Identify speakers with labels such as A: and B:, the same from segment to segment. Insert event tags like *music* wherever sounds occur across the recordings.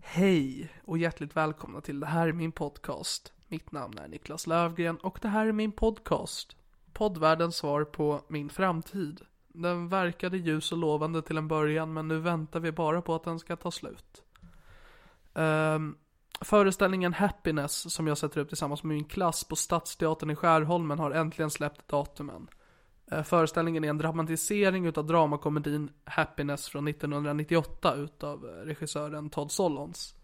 A: Hej och hjärtligt välkomna till Det här är min podcast. Mitt namn är Niklas Lövgren och det här är min podcast. Poddvärldens svar på min framtid. Den verkade ljus och lovande till en början men nu väntar vi bara på att den ska ta slut. Ehm, föreställningen Happiness som jag sätter upp tillsammans med min klass på Stadsteatern i Skärholmen har äntligen släppt datumen. Eh, Föreställningen är en dramatisering utav dramakomedin Happiness från 1998 utav eh, regissören Todd Solondz.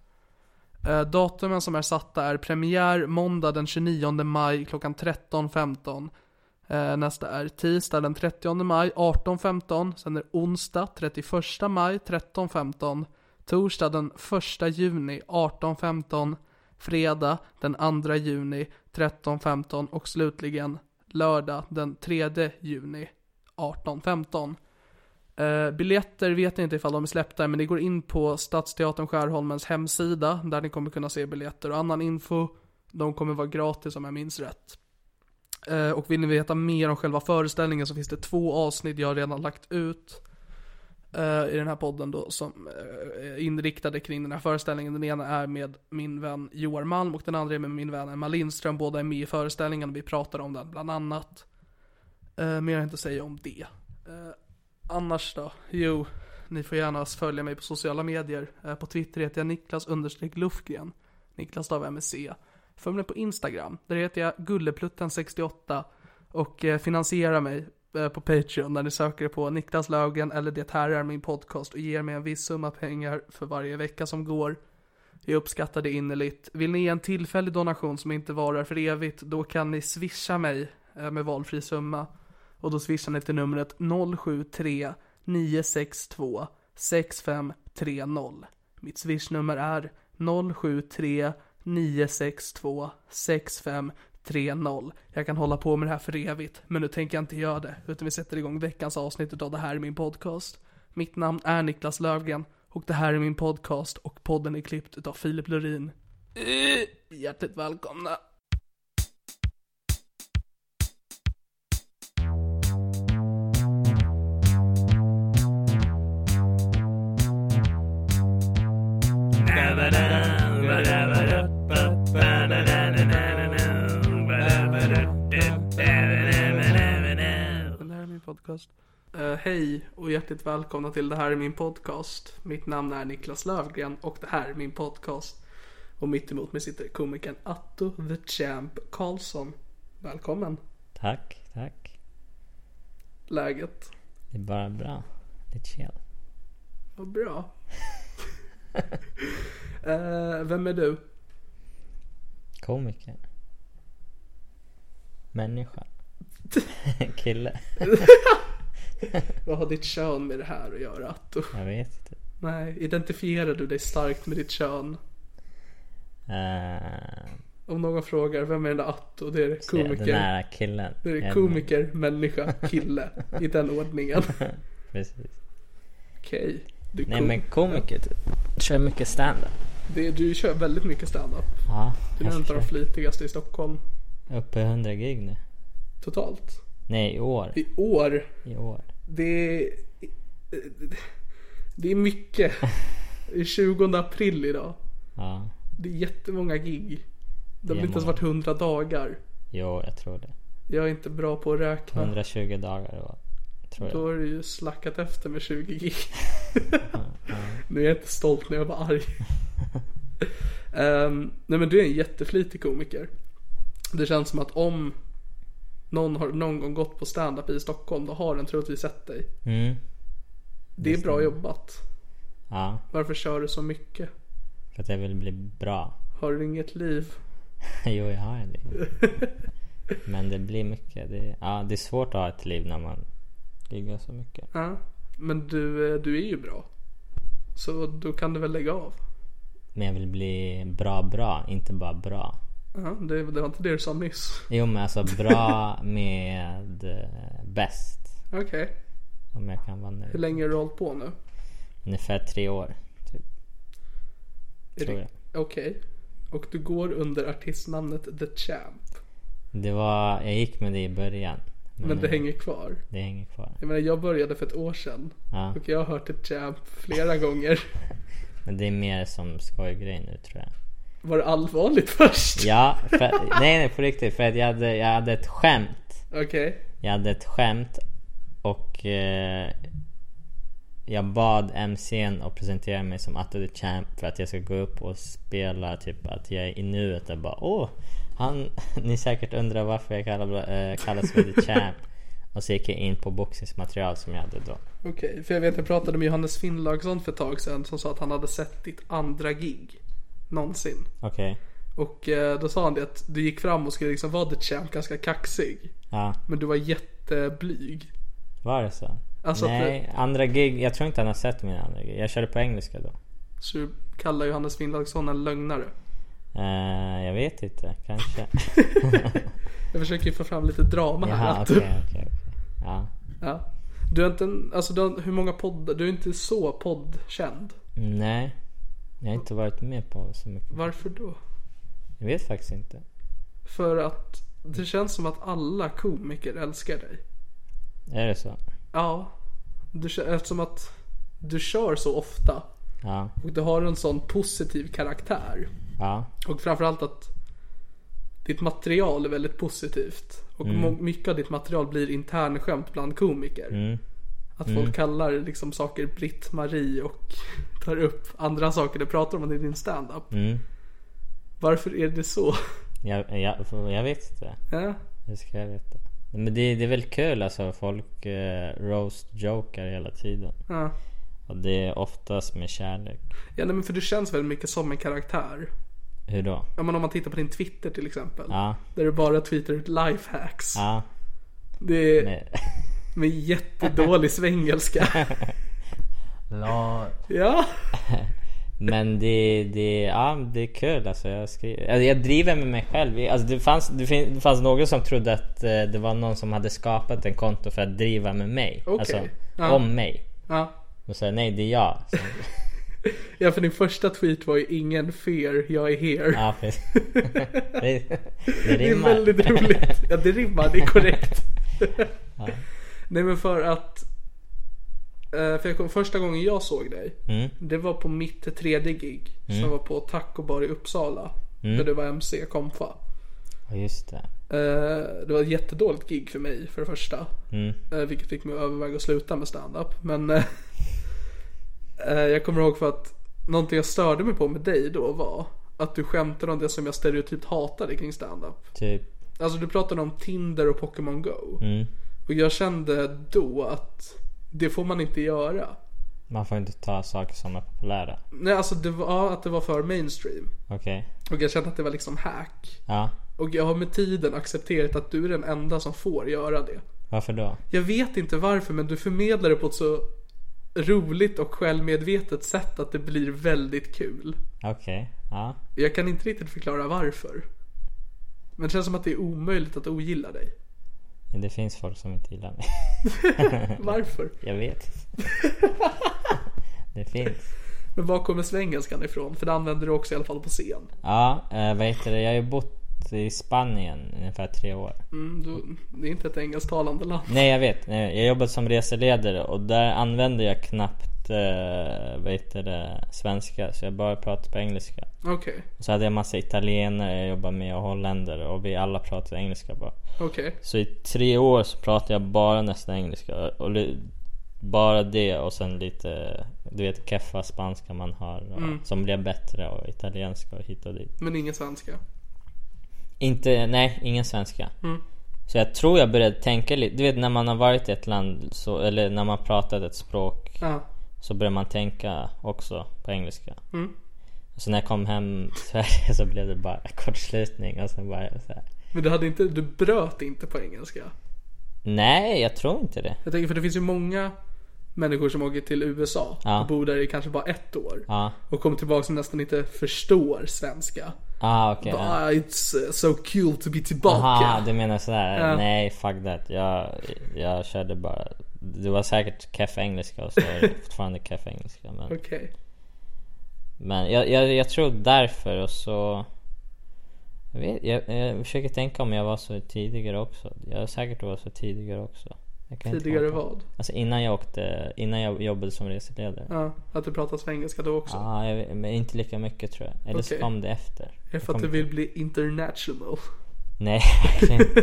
A: Eh, Datumen som är satta är premiär måndag den 29 maj klockan 13.15. Eh, Nästa är tisdag den 30 maj 18.15. Sen är onsdag 31 maj 13.15. Torsdag den 1 juni 18.15. Fredag den 2 juni 13.15 och slutligen lördag den 3 juni 18.15. Eh, biljetter vet jag inte ifall de är släppta, men det går in på Stadsteatern Skärholmens hemsida, där ni kommer kunna se biljetter och annan info. De kommer vara gratis om jag minns rätt. Eh, och vill ni veta mer om själva föreställningen så finns det två avsnitt jag redan lagt ut eh, i den här podden då som eh, är inriktade kring den här föreställningen. Den ena är med min vän Joar Malm och den andra är med min vän Emma Lindström. Båda är med i föreställningen och vi pratar om den bland annat. Eh, mer har jag inte att säga om det. Eh, annars då? Jo, ni får gärna följa mig på sociala medier. Eh, på Twitter heter jag Niklas understreck Lufgren. Niklas stav med C. Följ mig på Instagram. Där heter jag Gullepluttan68 och eh, finansiera mig eh, på Patreon när ni söker på Niklas Lögen eller Det här är min podcast och ger mig en viss summa pengar för varje vecka som går. Jag uppskattar det innerligt. Vill ni ge en tillfällig donation som inte varar för evigt, då kan ni swisha mig eh, med valfri summa. Och då swishar ni till numret 073 962 6530. Mitt swishnummer är 073 962 6530. Jag kan hålla på med det här för evigt, men nu tänker jag inte göra det, utan vi sätter igång veckans avsnitt av Det här är min podcast. Mitt namn är Niklas Lövgren och det här är min podcast och podden är klippt utav Filip Lurin. Eh, Hjärtligt välkomna! Det här är min podcast. Eh, hej och hjärtligt välkomna till Det här är min podcast. Mitt namn är Niklas Lövgren och det här är min podcast. Och mitt emot mig sitter komikern Atto the Champ Karlsson. Välkommen!
B: Tack, tack.
A: Läget?
B: Det är bara bra. Det är chill.
A: Vad *laughs* bra. Eh, vem är du?
B: Komiker. Människa. *laughs* Kille.
A: Vad har ditt kön med det här att göra Atto?
B: Jag vet inte.
A: Nej, identifierar du dig starkt med ditt kön?
B: Eh,
A: Om någon frågar, vem är den där Atto? Det är
B: så Den
A: komiker.
B: här killen.
A: Det är
B: En-
A: *laughs* komiker, människa, kille. I den ordningen.
B: Precis.
A: Okej. Du,
B: Nej
A: kom-
B: men komiker typ. Kör mycket standup.
A: det, du kör väldigt mycket standup.
B: Ja.
A: Du är en av de flitigaste i Stockholm
B: Uppe i 100 gig nu.
A: totalt.
B: Nej i år.
A: I år,
B: I år.
A: det är... Det är mycket. Det är 20 april idag.
B: Ja.
A: Det är jättemånga gig. Det har
B: Det är
A: väl inte ens
B: många.
A: varit 100 dagar.
B: Jo jag tror det.
A: Jag är inte bra på att räkna.
B: 120 dagar var Tror
A: Då
B: jag.
A: har du ju slackat efter med 20 gig. nu är jag inte stolt när jag var arg. Ehm, nej men du är en jätteflitig komiker. Det känns som att om någon har någon gång gått på stand-up i Stockholm då har den troligtvis sett dig.
B: Mm.
A: Det är bra jobbat.
B: Ja.
A: Varför kör du så mycket?
B: För att jag vill bli bra.
A: Har du inget liv?
B: *laughs* Jo, jag har en liv. Men det blir mycket. Det är, ja, det är svårt att ha ett liv när man giggar så mycket.
A: Ja. Men du, eh, du är ju bra. Så då kan du väl lägga av?
B: Men jag vill bli bra, bra. Inte bara bra.
A: Ja, det, det var inte det du sa nyss.
B: Jo, men alltså
A: *laughs*
B: bra med eh, bäst.
A: Okej.
B: Om jag kan vara
A: Hur
B: nu.
A: länge har du hållit på nu?
B: Ungefär tre år. Typ,
A: Är
B: tror
A: det-
B: jag.
A: Okej. Och du går under artistnamnet The Champ.
B: Det var, jag gick med det i början. Men,
A: Men det
B: nu-
A: hänger kvar.
B: det hänger kvar.
A: Jag menar, jag började för ett år sedan.
B: Ja.
A: Och jag har hört The Champ flera gånger.
B: Men det är mer som skojgrej nu tror jag.
A: Var det allvarligt först?
B: Ja, för, *laughs* nej, nej på riktigt. För att jag hade, jag hade ett skämt.
A: Okej.
B: Jag hade ett skämt och eh, jag bad MCn att presentera mig som Atto the Champ för att jag ska gå upp och spela typ att jag är i nuet och bara åh, han, *laughs* ni säkert undrar varför jag kallar, eh, kallas för the Champ. Och så gick jag in på boxningsmaterial som jag hade då.
A: Okej, för jag vet jag pratade med Johannes Finnlaugsson för ett tag sedan som sa att han hade sett ditt andra gig. Någonsin.
B: Okej,
A: Och eh, då sa han det att du gick fram och skulle liksom vara The Champ ganska kaxig.
B: ja.
A: Men du var jätteblyg.
B: Var det så?
A: Alltså att
B: nej, andra gig. Jag tror inte han har sett mina andra gig. Jag körde på engelska då.
A: Så du kallar Johannes Finnlaugsson en lögnare.
B: Eh, jag vet inte, kanske.
A: Jag försöker ju få fram lite drama här.
B: Jaha,
A: att
B: okej,
A: du-
B: okej, okej. Ja.
A: Ja. Du är inte en, alltså du har, hur många poddar, du är inte så poddkänd.
B: Nej. Jag har inte varit med på så mycket.
A: Varför då?
B: Jag vet faktiskt inte.
A: För att det känns som att alla komiker älskar dig.
B: Är det så?
A: Ja. Du, kö- eftersom att du kör så ofta
B: Ja.
A: och du har en sån positiv karaktär.
B: Ja.
A: Och framförallt att ditt material är väldigt positivt. Och
B: Mm.
A: må- mycket av ditt material blir internskämt bland komiker.
B: Mm.
A: Att folk kallar liksom saker Britt-Marie och *laughs* tar upp andra saker du pratar om i din standup.
B: Mm.
A: Varför är det så? *laughs*
B: Jag, jag, för- jag vet inte.
A: Ja,
B: Hur ska jag veta? Men det, det är väl kul alltså. Folk eh, roast-jokar hela tiden.
A: ja.
B: Och det är oftast med kärlek.
A: ja nej, men för du känns väldigt mycket som en karaktär.
B: Hur då?
A: Ja, men om man tittar på din Twitter till exempel.
B: Ja.
A: Där du bara tweetar ut lifehacks.
B: Ja.
A: Det är
B: Nej.
A: med jättedålig *laughs* svengelska.
B: *laughs*
A: ja,
B: Men det, det, ja, det är kul alltså. Jag, skriver, alltså, jag driver med mig själv. Alltså, det, fanns, det, fin, det fanns någon som trodde att eh, det var någon som hade skapat en konto för att driva med mig.
A: Okej.
B: Alltså
A: Ja.
B: om mig.
A: ja.
B: Och så nej det är jag. Så,
A: Ja för din första tweet var ju ingen fear, jag är here. *laughs*
B: ja, precis. *laughs* det, det
A: det är
B: rimmar.
A: väldigt roligt. Ja det rimmar, det är
B: *laughs*
A: korrekt. Nej men för att. eh, För jag kom, första gången jag såg dig.
B: Mm.
A: Det var på mitt tredje gig. Som var på Taco Bar i Uppsala.
B: Mm.
A: Där du var MC kompa.
B: Ja, Just det.
A: Eh, Det var ett jättedåligt gig för mig för det första. Eh, Vilket fick mig att överväga att sluta med stand-up. Men eh, *laughs* eh, jag kommer ihåg för att någonting jag störde mig på med dig då var att du skämtade om det som jag stereotypt hatade kring stand-up.
B: Typ.
A: Alltså du pratade om Tinder och Pokémon Go. Och jag kände då att det får man inte göra.
B: Man får inte ta saker som är populära.
A: Nej alltså det var ja, att det var för mainstream.
B: Okej.
A: Och jag kände att det var liksom hack.
B: Ja.
A: Och jag har med tiden accepterat att du är den enda som får göra det.
B: Varför då?
A: Jag vet inte varför men du förmedlar det på ett så roligt och självmedvetet sätt att det blir väldigt kul.
B: Okej. Ja.
A: Jag kan inte riktigt förklara varför. Men det känns som att det är omöjligt att ogilla dig.
B: Det finns
A: *laughs*
B: *laughs* folk som inte gillar mig.
A: Varför?
B: Jag vet. Det finns.
A: Men var kommer svängelskan ifrån? För det använder du också i alla fall på scen.
B: Ja, eh, vad heter det? Jag har ju bott i Spanien i ungefär tre år.
A: Mm, du, det är inte ett engelsktalande land.
B: Nej jag vet, Nej, jag jobbat som reseledare och där använde jag knappt eh, vad heter det, svenska så jag bara pratade på engelska.
A: Okej,
B: Och så hade jag massa italienare jag jobbade med och holländare och vi alla pratade engelska bara.
A: okej.
B: Så i tre år så pratade jag bara nästan engelska. Och li- bara det och sen lite, du vet keffa spanska man har. Och, Som blev bättre och italienska och hit och dit.
A: Men ingen svenska.
B: Inte, nej, ingen svenska.
A: Mm.
B: Så jag tror jag började tänka lite, du vet när man har varit i ett land, så, eller när man pratat ett språk,
A: Ja.
B: så börjar man tänka också på engelska.
A: Mm.
B: Så när jag kom hem till Sverige så blev det bara kortslutning och sen bara så här.
A: Men du, hade inte, du bröt inte på engelska.
B: Nej, jag tror inte det.
A: Jag tänker för det finns ju många människor som åker till USA
B: Ja.
A: och bor där i kanske bara ett år.
B: Ja,
A: Och kommer tillbaka som nästan inte förstår svenska.
B: ah, okej. ja.
A: Bara, It's uh, so cool to be tillbaka.
B: Aha, du menar sådär?
A: Ja.
B: Nej, fuck that. Jag, jag körde bara. Det var säkert keff engelska och så är det
A: *laughs*
B: fortfarande keff engelska. Men,
A: Okej.
B: men jag, jag, jag tror därför och så... Jag, vet, jag, jag försöker tänka om jag var så tidigare också. Jag säkert var så tidigare också. Jag kan inte
A: Tidigare
B: komma på-
A: vad?
B: Alltså innan jag åkte, innan jag jobbade som reseledare. Ja,
A: Ja, att du pratar svengelska då också.
B: jag vet- men inte lika mycket tror jag. Eller så
A: Okej.
B: kom det efter.
A: Det är för att du vill bli international.
B: Nej,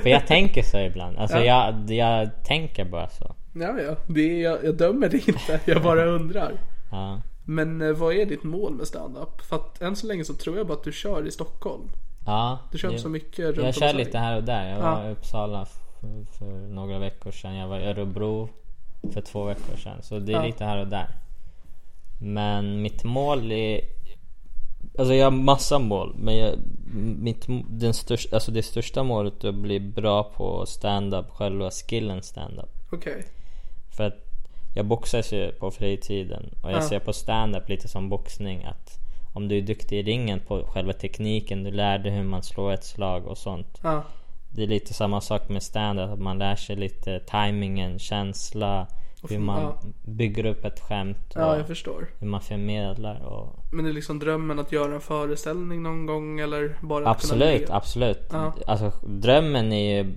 B: för jag tänker så ibland. Alltså jag, jag tänker bara så.
A: Ja, ja. Det är, jag, jag dömer dig inte.
B: *laughs*
A: Jag bara undrar.
B: Ja.
A: Men eh, vad är ditt mål med stand-up? För att än så länge så tror jag bara att du kör i Stockholm.
B: Ja,
A: Du kör
B: det-
A: inte så mycket runt om i
B: Jag kör
A: Sverige.
B: lite här och där. Jag var
A: Ja.
B: i Uppsala för, för några veckor sedan. Jag var i Örebro för två veckor sedan. Så det är
A: Ja.
B: lite här och där. Men mitt mål är... Alltså jag har massa mål. Men jag, mitt, den största, alltså det största målet är att bli bra på stand-up. Själva skillen stand-up.
A: Okej.
B: För att jag boxas ju på fritiden och jag
A: Ja.
B: ser på stand-up lite som boxning att om du är duktig i ringen på själva tekniken, du lär dig hur man slår ett slag och sånt.
A: Ja.
B: Det är lite samma sak med stand-up, att man lär sig lite timingen, känsla, hur man
A: ja.
B: bygger upp ett skämt och
A: ja, jag förstår.
B: hur man förmedlar. Och...
A: Men det är liksom drömmen att göra en föreställning någon gång eller bara att kunna
B: Absolut,
A: leva.
B: absolut.
A: Ja.
B: Alltså, drömmen är ju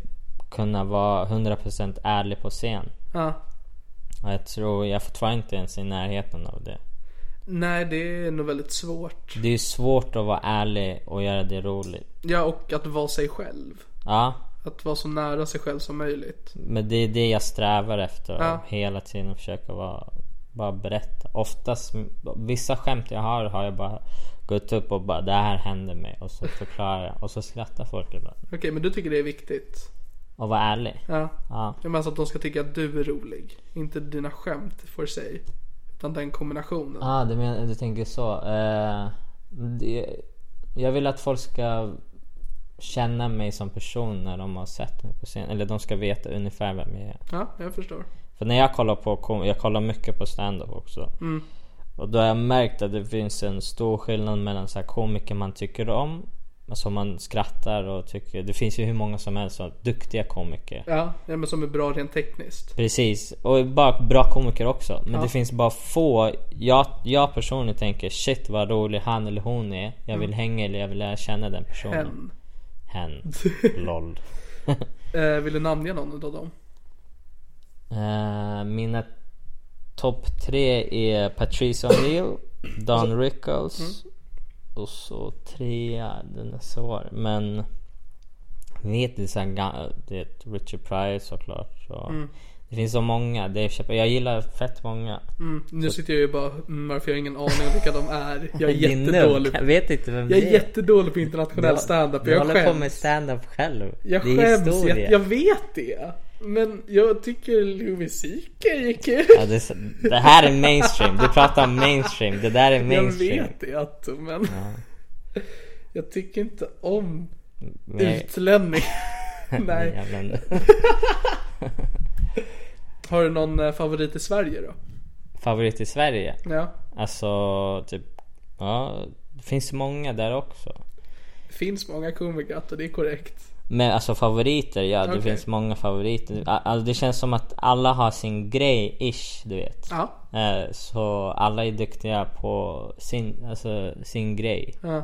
B: kunna vara 100% ärlig på scen.
A: Ja.
B: Och jag tror, jag är fortfarande inte ens i närheten av det.
A: Nej, det är nog väldigt svårt.
B: Det är svårt att vara ärlig och göra det roligt.
A: Ja, och att vara sig själv.
B: Ja,
A: Att vara så nära sig själv som möjligt.
B: men det är det jag strävar efter.
A: Ja.
B: Hela tiden försöka vara, bara berätta. Oftast, vissa skämt jag har har jag bara gått upp och bara det här hände mig och så förklarar jag och så skrattar folk ibland.
A: Okej, men du tycker det är viktigt?
B: Och vara ärlig.
A: Ja.
B: Ja,
A: Jag menar så att de ska tycka att du är rolig. Inte dina skämt för sig. Utan den kombinationen.
B: ah, du, men, du tänker så. Eh, det, jag vill att folk ska känna mig som person när de har sett mig på scen. Eller de ska veta ungefär vem jag är.
A: Ja, jag förstår.
B: För när jag kollar på kom- jag kollar mycket på stand-up också. Och då har jag märkt att det finns en stor skillnad mellan så här komiker man tycker om. Som man skrattar och tycker. Det finns ju hur många som helst som duktiga komiker.
A: Ja, ja men som är bra rent tekniskt.
B: Precis. Och bara bra komiker också. Men det finns bara få. Jag, jag personligen tänker shit vad rolig han eller hon är. Jag vill hänga eller jag vill lära känna den personen.
A: Hen.
B: Hen. LOL.
A: Eh, vill du namnge någon utav dem?
B: Eh, mina topp tre är Patrice O'Neill, Don Rickles
A: Mm.
B: och så trea, den är svår. Men jag vet det är, så här, ga- det är ett Richard Pryor såklart. Så. Det finns så många. Dave Chappelle. Jag gillar fett många.
A: Mm, nu sitter jag ju bara, mm, varför jag har ingen aning om vilka de är. Jag är
B: *laughs* Din nubb,
A: jättedålig.
B: Jag vet inte
A: Jag
B: vem det
A: är jättedålig på internationell standup.
B: Du
A: Jag
B: håller på
A: skäms.
B: med standup själv.
A: Jag
B: det är
A: skäms. Jag,
B: historia.
A: jag vet det. Men jag tycker Louis CK är kul.
B: Ja, det, är så- det här är mainstream. Du pratar om mainstream. Det där är
A: Jag
B: mainstream.
A: vet det att, men. Jag tycker inte om
B: Men jag-
A: utlänningar.
B: *laughs*
A: Nej.
B: Jävla nubb.
A: Har du någon eh, favorit i Sverige då?
B: favorit i Sverige.
A: Ja.
B: Alltså, typ, ja, det finns många där också.
A: Det finns många komiker och det är korrekt.
B: Men alltså favoriter, ja det
A: Okej.
B: finns många favoriter. A- Alltså, det känns som att alla har sin grej-ish, du vet.
A: Ja.
B: Eh, Så alla är duktiga på sin, alltså, sin grej.
A: Ja.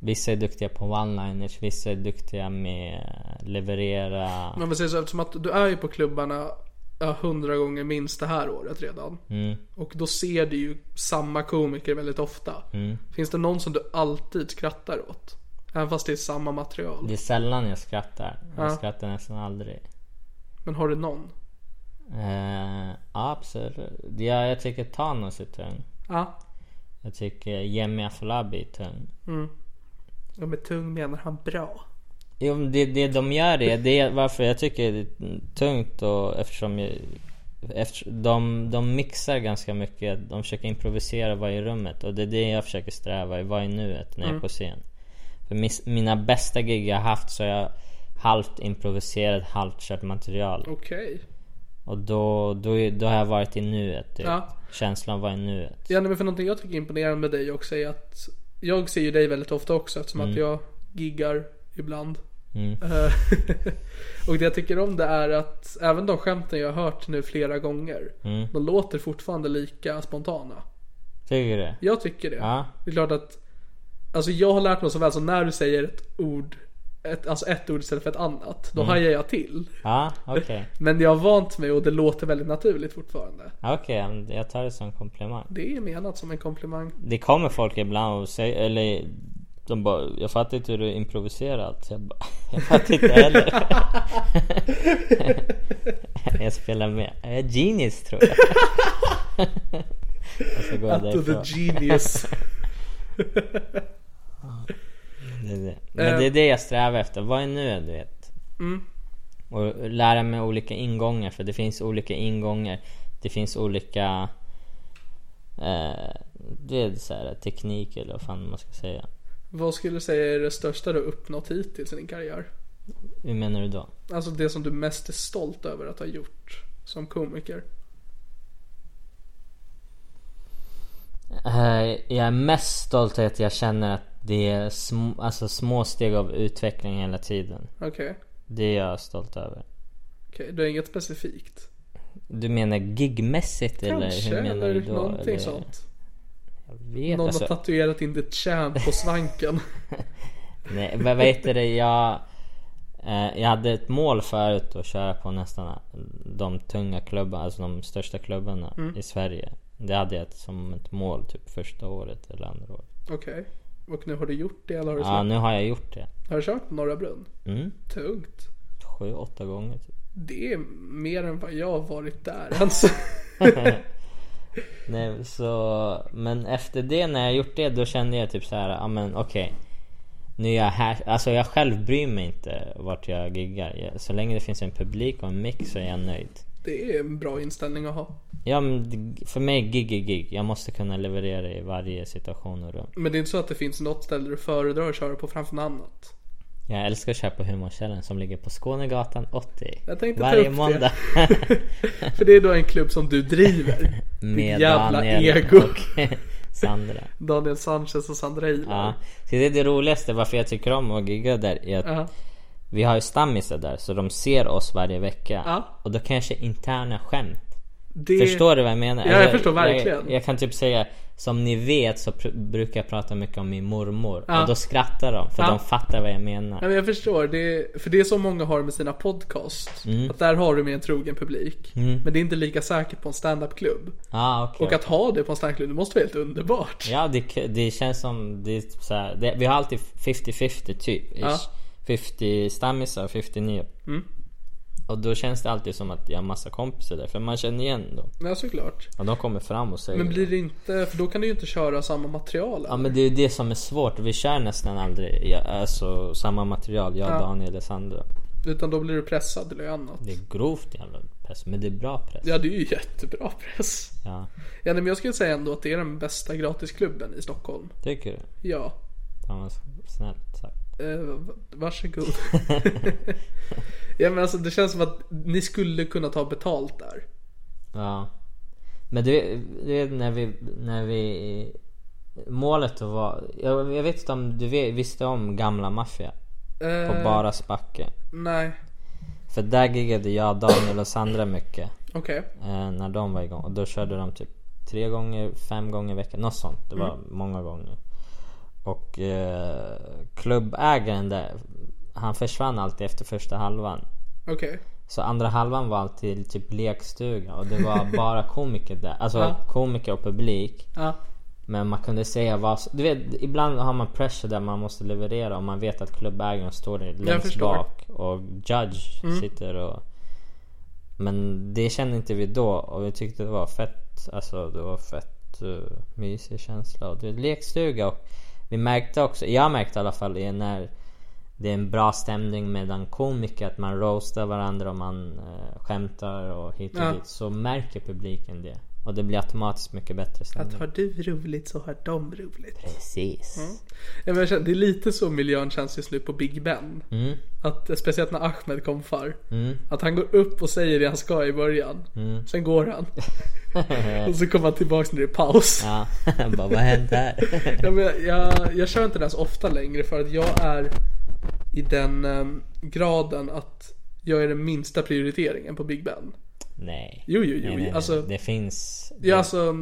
B: Vissa är duktiga på one-liners, vissa är duktiga med leverera.
A: Men man säger så, eftersom att du är ju på klubbarna ja, hundra gånger minst det här året redan.
B: Mm.
A: Och då ser du ju samma komiker väldigt ofta.
B: Mm.
A: Finns det någon som du alltid skrattar åt? Även fast det är samma material.
B: Det är sällan jag skrattar. Jag
A: Ja.
B: skrattar nästan aldrig.
A: Men har du någon?
B: Eh, absolut. Ja, jag tycker Thanos är tung.
A: Ja.
B: Jag tycker Jemmy Afolabi är tung.
A: Ja med tung menar han bra.
B: Jo, men det, det de gör är, det är varför jag tycker det är tungt och eftersom jag, efter, de, de mixar ganska mycket. De försöker improvisera vad är i rummet och det är det jag försöker sträva i. Vad är nuet när jag är på scen? För mis, mina bästa gig jag haft så har jag halvt improviserat, halvt kört material.
A: Okej.
B: Och då, då, är- då har jag varit i nuet. Typ.
A: Ja.
B: Känslan var i nuet.
A: Ja, nej, men för någonting jag tycker är imponerande med dig också är att jag ser ju dig väldigt ofta också eftersom att jag giggar ibland. Eh, *laughs* och det jag tycker om det är att även de skämten jag har hört nu flera gånger, de låter fortfarande lika spontana.
B: Tycker du?
A: Jag tycker det.
B: Ja.
A: Det är klart att, alltså jag har lärt mig så väl så när du säger ett ord, ett, alltså ett ord istället för ett annat, då hajar jag till.
B: Ja, okej.
A: Men jag har vant mig och det låter väldigt naturligt fortfarande.
B: Okej, jag tar det som komplimang.
A: Det är menat som en komplimang.
B: Det kommer folk ibland och säger, eller de bara, jag fattar inte hur du improviserar allt. Jag, bara, *laughs* jag fattar inte heller. *laughs* jag spelar med. Jag är genius tror jag. *laughs* och så går jag
A: Out of the
B: därifrån. *laughs*
A: genius.
B: Det är det. Men det är det jag strävar efter. Vad är nu du vet?
A: Mm.
B: Och lära mig olika ingångar för det finns olika ingångar. Det finns olika eh, det är så här, teknik eller vad fan man ska säga.
A: Vad skulle du säga är det största du har uppnått hittills i din karriär?
B: Hur menar du då?
A: Alltså det som du mest är stolt över att ha gjort som komiker.
B: Eh, Jag är mest stolt över att jag känner att det är sm- alltså små steg av utveckling hela tiden.
A: Okej,
B: Det är jag stolt över.
A: okej, du har inget specifikt?
B: Du menar gigmässigt eller
A: Kanske,
B: hur menar du då?
A: någonting
B: Eller-
A: sånt.
B: Jag vet
A: Någon
B: alltså.
A: har tatuerat in the champ på svanken. *laughs*
B: Nej, vad vad heter det? Jag, eh, jag hade ett mål förut att köra på nästan de tunga klubbarna, alltså de största klubbarna
A: Mm.
B: i Sverige. Det hade jag som ett mål typ första året eller andra året.
A: Okej, och nu har du gjort det eller har du,
B: Ja,
A: släppt?
B: nu har jag gjort det.
A: har du kört på Norra Brunn?
B: Mm.
A: Tungt.
B: Sju, åtta gånger typ.
A: Det är mer än vad jag har varit där *laughs* alltså.
B: Nej, så, men efter det, när jag gjort det, då kände jag typ så här, ja men okej. Nu är jag här, alltså jag själv bryr mig inte vart jag giggar. Jag- Så länge det finns en publik och en mix så är jag nöjd.
A: Det är en bra inställning att ha.
B: Ja, men det- för mig gig är gig. Jag måste kunna leverera i varje situation och rum.
A: Men det är inte så att det finns något ställe du föredrar att köra på framför något annat?
B: Jag älskar att köpa humorkällan som ligger på Skånegatan 80.
A: Jag tänkte ta
B: varje
A: upp det. *laughs*
B: måndag. *laughs*
A: För det är då en klubb som du driver.
B: med
A: jävla
B: Daniel
A: ego.
B: och *laughs* Sandra.
A: Daniel Sanchez och Sandra Ilar.
B: Ja. Så det är det roligaste varför jag tycker om att gigga där. Är att
A: Ja.
B: Vi har ju stammisar där så de ser oss varje vecka.
A: Ja.
B: Och då kanske interna skämt.
A: Det...
B: Förstår du vad jag menar?
A: Ja, jag förstår verkligen.
B: Jag, jag kan typ säga som ni vet så pr- brukar jag prata mycket om min mormor.
A: Ja.
B: Och då skrattar de för
A: Ja.
B: de fattar vad jag menar.
A: Ja, men jag förstår, det är, för det är så många har med sina podcast.
B: Mm.
A: Att där har du med en trogen publik. Men det är inte lika säkert på en standup-klubb.
B: Ah, okay.
A: Och att ha det på en standup-klubb, det måste vara helt underbart.
B: Ja, det, k- det känns som... Det är typ så här, det, vi har alltid 50-50 typ. ish.
A: Ja. Mm.
B: 50 stammisar och 50 nya. Och då känns det alltid som att jag har massa kompisar där. För man känner igen dem.
A: Ja, såklart.
B: Och de kommer fram och säger
A: Men blir det inte, för då kan du ju inte köra samma material.
B: Ja men det är ju det som är svårt. Vi kör nästan aldrig ja, alltså, samma material. Jag, Daniel eller Sandra.
A: Utan då blir du pressad eller annat.
B: Det är grovt jävla press. Men det är bra press.
A: Ja, det är ju jättebra press.
B: Ja,
A: Ja, nej, men jag skulle säga ändå att det är den bästa gratisklubben i Stockholm.
B: tycker du?
A: Ja,
B: Fan vad snällt sagt.
A: Eh, v- varsågod. ja men alltså det känns som att ni skulle kunna ta betalt där.
B: Ja. Men du, du vet när vi, när vi... Målet var... Jag, jag vet inte om du ve- visste om Gamla Mafia?
A: Eh.
B: På Baras backe.
A: Nej,
B: För där giggade jag, Daniel och Sandra mycket.
A: okej.
B: eh, när de var igång. Och då körde de typ tre gånger, fem gånger i veckan. Något sånt. Det var många gånger. Och eh, klubbägaren där, han försvann alltid efter första halvan.
A: Okej.
B: Så andra halvan var alltid typ lekstuga och det var bara komiker där. Alltså
A: Ja.
B: komiker och publik.
A: Ja.
B: Men man kunde säga vad Du vet, ibland har man pressure där man måste leverera och man vet att klubbägaren står där längst
A: förstår. Mm.
B: bak och judge sitter och... Men det kände inte vi då och vi tyckte det var fett, alltså det var fett uh, mysig känsla och det är lekstuga och vi märkte också, jag märkte i alla fall i när det är en bra stämning mellan komiker att man roastar varandra och man eh, skämtar och hit och
A: Ja.
B: dit så märker publiken det och det blir automatiskt mycket bättre stämning.
A: Att har du roligt så har de roligt.
B: Precis.
A: Ja, men jag känner, det är lite så miljön känns just nu på Big Ben. Att, eh, speciellt när Ahmed kom för. Att han går upp och säger det han ska i början. Sen går han. och så kommer han tillbaks när det är paus. Ja.
B: Ja, *laughs* bara vad hände här?
A: men jag, jag, jag kör inte den så ofta längre för att jag är i den em, graden att jag är den minsta prioriteringen på Big Ben.
B: *laughs* Nej.
A: Jo, jo, jo.
B: nej, nej, nej.
A: alltså,
B: det finns...
A: Ja, alltså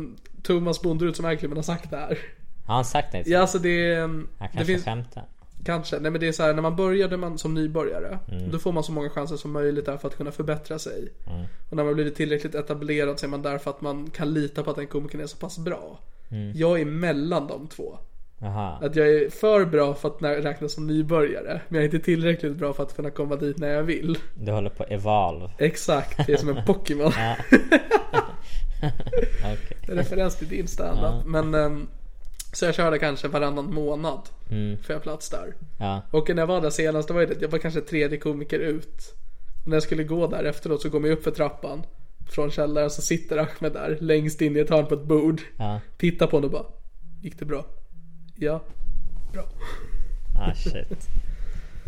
A: Thomas Bonderud som är klubben har sagt det här.
B: Har han sagt det?
A: Ja, alltså det... em,
B: Han
A: det
B: kanske
A: finns,
B: skämtar.
A: Kanske. Nej men det är så här, när man började man som nybörjare, då får man så många chanser som möjligt där för att kunna förbättra sig. Och när man blivit tillräckligt etablerad så är man där för att man kan lita på att den komikern är så pass bra. Jag är mellan de två.
B: Jaha.
A: Att jag är för bra för att nä- räknas som nybörjare, men jag är inte tillräckligt bra för att kunna komma dit när jag vill.
B: Du håller på evolve.
A: Exakt, det är som en Pokémon. *laughs*
B: Okej.
A: Referens till din standup. Men, ehm, så jag körde kanske varannan månad, får jag plats där.
B: Mm. Ja.
A: Och när jag var där senast, då var jag, det- jag var kanske tredje komiker ut. Och när jag skulle gå där efteråt så kom jag upp för trappan från källaren så sitter Ahmed där längst in i ett hörn på ett bord.
B: Ja.
A: Tittar på honom och bara, gick det bra? Ja. Bra. *laughs*
B: Ah shit.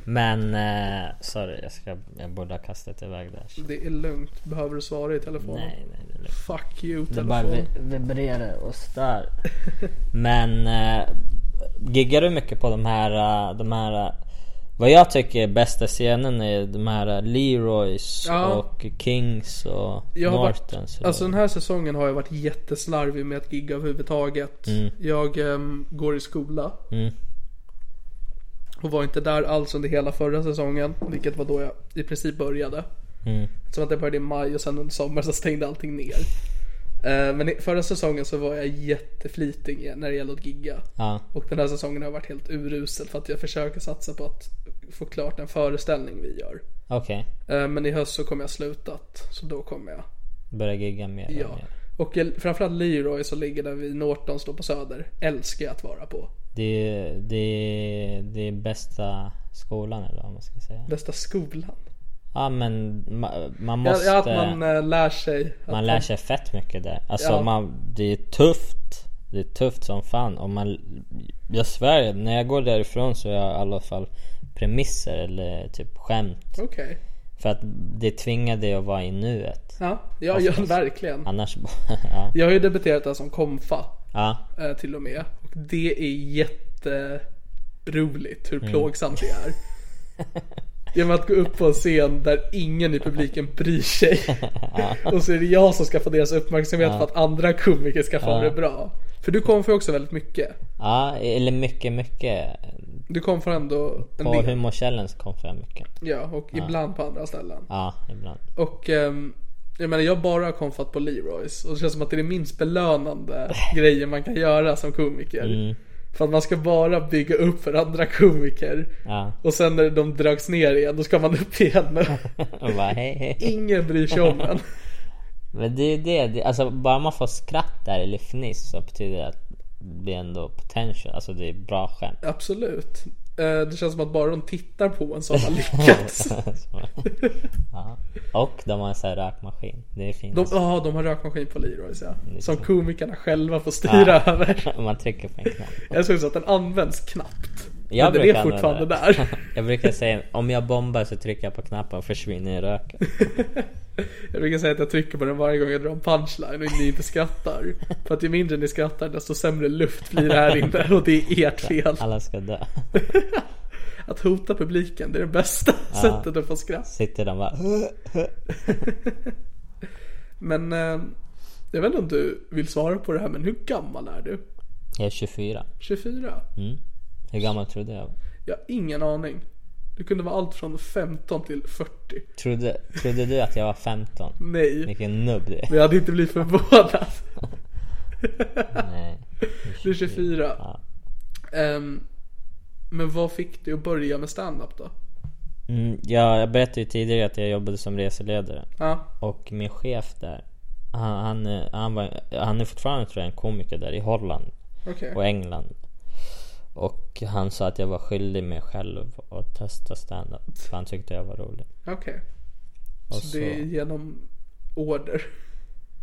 B: Men, eh, sorry. Jag, ska, jag borde ha kastat iväg det. här.
A: Det är lugnt, behöver du svara i telefonen?
B: Nej, nej, det är lugnt.
A: Fuck you
B: Det bara
A: telefon.
B: vi- vibrerar
A: *laughs*
B: och stör. Men, eh, giggar du mycket på de här, eh, de här eh, vad jag tycker är bästa scenen är de här eh, Leroys
A: Ja.
B: och Kings och
A: Jag har varit-
B: Nortons. och-
A: Alltså den här säsongen har jag varit jätteslarvig med att gigga överhuvudtaget. Jag ehm, går i skola. Och var inte där alls under hela förra säsongen. Vilket var då jag i princip började. Eftersom att jag började i maj och sen under sommaren så stängde allting ner. Eh, men i- förra säsongen så var jag jätteflitig i- när det gällde att gigga.
B: Ja.
A: Och den här säsongen har varit helt urusel för att jag försöker satsa på att få klart en föreställning vi gör.
B: Okej.
A: Eh, men i höst så kommer jag slutat. Så då kommer jag
B: Börja gigga mer och
A: Ja.
B: mer.
A: Och jag- framförallt Leroy så ligger där vid Nortons då på Söder. Älskar jag att vara på.
B: Det är, det, är, det är bästa skolan eller vad man ska säga.
A: Bästa skolan.
B: Ja men man, man
A: Ja,
B: måste...
A: Ja, att man eh, lär sig. Att
B: man lär sig fett mycket där. Alltså
A: Ja.
B: man, det är tufft. Det är tufft som fan. Och man, jag svär, när jag går därifrån så har jag i alla fall premisser eller typ skämt.
A: Okej.
B: För att det tvingar dig att vara i nuet.
A: Ja, ja, ja verkligen.
B: Annars *laughs* bara... ja.
A: Jag har ju debuterat där som komfa
B: ja.
A: eh, till och med. Och det är jätteroligt
B: Mm.
A: hur plågsamt det
B: *laughs*
A: är. Genom att gå upp på en scen där ingen i publiken bryr
B: *laughs*
A: sig. Och så är det jag som ska få deras uppmärksamhet för att andra komiker ska få det bra. För du kom för också väldigt mycket.
B: ja. Eller mycket, mycket.
A: Du kom för ändå en
B: På
A: del.
B: humor challenge kom för mycket.
A: Ja, och ibland på andra ställen.
B: Ja, ibland.
A: Och ehm, jag menar, jag bara har konfat på Leroys. Och det känns som att det är det minst
B: *laughs*
A: belönande grejen man kan göra som komiker.
B: Mm.
A: För att man ska bara bygga upp för andra komiker.
B: Ja.
A: Och sen när de drags ner igen, då ska man upp igen.
B: *laughs* Och bara, hej, hej.
A: Ingen bryr sig om en.
B: Men det är det, det alltså bara man får skratt där eller fniss så betyder det att det är ändå potential, alltså det är bra skämt.
A: Absolut. Eh, Det känns som att bara de tittar på en så har man lyckats.
B: *laughs* ja. Och de har en sån här rökmaskin, det är fint. Alltså,
A: De, ja, de har rökmaskin på Leroys
B: Liksom.
A: ja. Som komikerna själva får styra över.
B: *laughs* Man trycker på en knapp.
A: Jag såg så att den används knappt.
B: Jag
A: men den
B: brukar
A: är
B: använda
A: fortfarande
B: det.
A: där.
B: *laughs* Jag brukar säga om jag bombar så trycker jag på knappen och försvinner i röken.
A: Jag brukar säga att jag trycker på den varje gång jag drar en punchline och ni inte skrattar. För att ju mindre ni skrattar desto sämre luft blir det här inne och det är ert fel.
B: Alla ska dö.
A: Att hota publiken, det är det bästa sättet att få skratt.
B: *laughs* Sitter de bara
A: Men eh, jag vet inte om du vill svara på det här, men hur gammal är du?
B: Jag är 24
A: 24?
B: Mm. Hur gammal trodde jag var?
A: Jag har ingen aning. Du kunde vara allt från 15 till 40.
B: trodde, trodde du att jag var 15?
A: Nej,
B: Vilken nubb du är
A: men jag hade inte blivit förvånad.
B: Nej
A: Du är 24. Ehm, men vad fick dig att börja med stand-up då?
B: mm, ja, Jag berättade ju tidigare att jag jobbade som reseledare
A: Ja,
B: Och min chef där han, han, eh, han, var, han är fortfarande tror jag en komiker där i Holland
A: okej.
B: och England. Och han sa att jag var skyldig mig själv att testa stand-up för han tyckte jag var rolig.
A: Okej.
B: Och
A: Så det är genom order.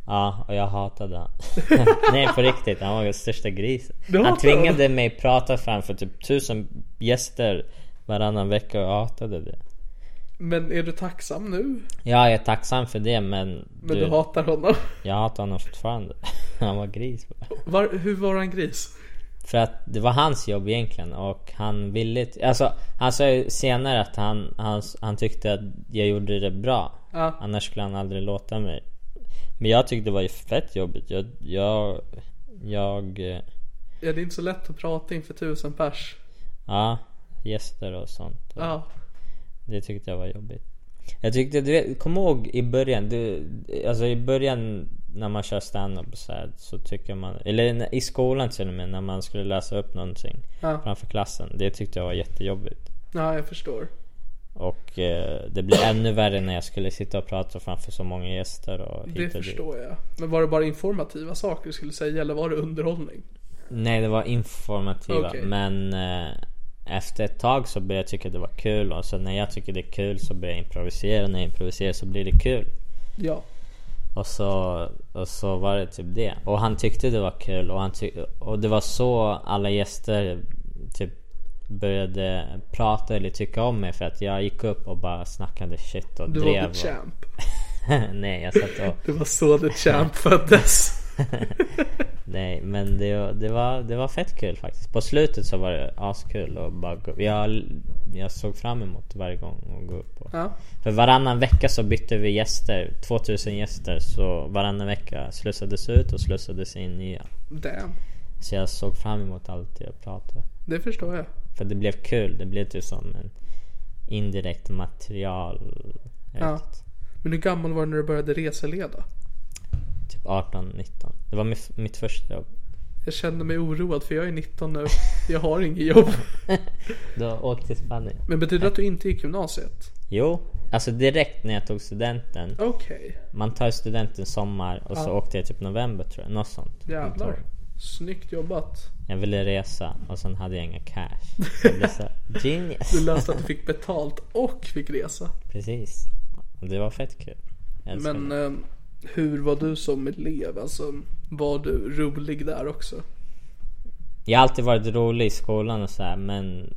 B: Ja, och jag hatade han. *laughs* Nej, på riktigt. Han var den största grisen.
A: Du
B: Han
A: hatade honom?
B: tvingade mig prata framför typ tusen gäster varannan vecka och jag hatade det.
A: Men är du tacksam nu?
B: Ja, jag är tacksam för det men...
A: Men du hatar honom?
B: Jag hatar honom fortfarande. *laughs* Han var gris. bara.
A: Var, hur var han gris?
B: För att det var hans jobb egentligen och han ville... t- Alltså han sa ju senare att han, han, han tyckte att jag gjorde det bra.
A: Ja.
B: Annars skulle han aldrig låta mig. Men jag tyckte det var ju fett jobbigt. Jag... Jag... jag eh,
A: Ja, det är inte så lätt att prata inför tusen pers.
B: ja, gäster och sånt.
A: Ja,
B: Det tyckte jag var jobbigt. Jag tyckte, du vet, kom ihåg i början, du, alltså i början när man kör stand-up så, här, så tycker man, eller när- i skolan till och med när man skulle läsa upp någonting
A: Ja.
B: framför klassen. Det tyckte jag var jättejobbigt.
A: ja jag förstår.
B: Och eh, det blev ännu värre när jag skulle sitta och prata framför så många gäster och
A: Det
B: och dit.
A: förstår jag. Men var det bara informativa saker du skulle säga eller var det underhållning?
B: Nej, det var informativa.
A: Okej.
B: Men eh, efter ett tag så började jag tycka det var kul och så när jag tycker det är kul så börjar jag improvisera. När jag improviserar så blir det kul.
A: Ja.
B: Och så, och så var det typ det. Och han tyckte det var kul och, han tyck, och det var så alla gäster typ började prata eller tycka om mig för att jag gick upp och bara snackade shit och
A: Du
B: drev.
A: var the champ.
B: och, *laughs* nej, jag satt och...
A: Det var så the champ föddes.
B: Nej, men det, det, var, det var fett kul faktiskt. På slutet så var det askul och bara gå, jag, jag såg fram emot varje gång att gå upp. Och,
A: Ja.
B: För varannan vecka så bytte vi gäster, 2000 gäster. Så varannan vecka slussades ut och slussades in nya.
A: Damn.
B: Så jag såg fram emot allt jag pratade.
A: Det förstår jag.
B: För det blev kul. Det blev typ som en indirekt material. Jag
A: Ja.
B: vet inte,
A: Men hur gammal var du när du började reseleda?
B: Typ 18, 19. Det var mitt, mitt första jobb.
A: Jag känner mig oroad för jag är 19 nu. *laughs* Jag har inget jobb.
B: Då åkte jag till Spanien.
A: Men betyder det att du inte gick gymnasiet?
B: Jo, alltså direkt när jag tog studenten.
A: Okej.
B: Man tar studenten sommar och så åkte jag typ november tror jag. Något sånt.
A: Jävlar. Snyggt jobbat.
B: Jag ville resa och sen hade jag inga cash. Jag blev så genius.
A: Du läste att du fick betalt och fick resa.
B: Precis. Och Det var fett kul. Jag älskar
A: Men
B: det.
A: eh, hur var du som elev? Alltså, var du rolig där också?
B: Jag har alltid varit rolig i skolan och så här, men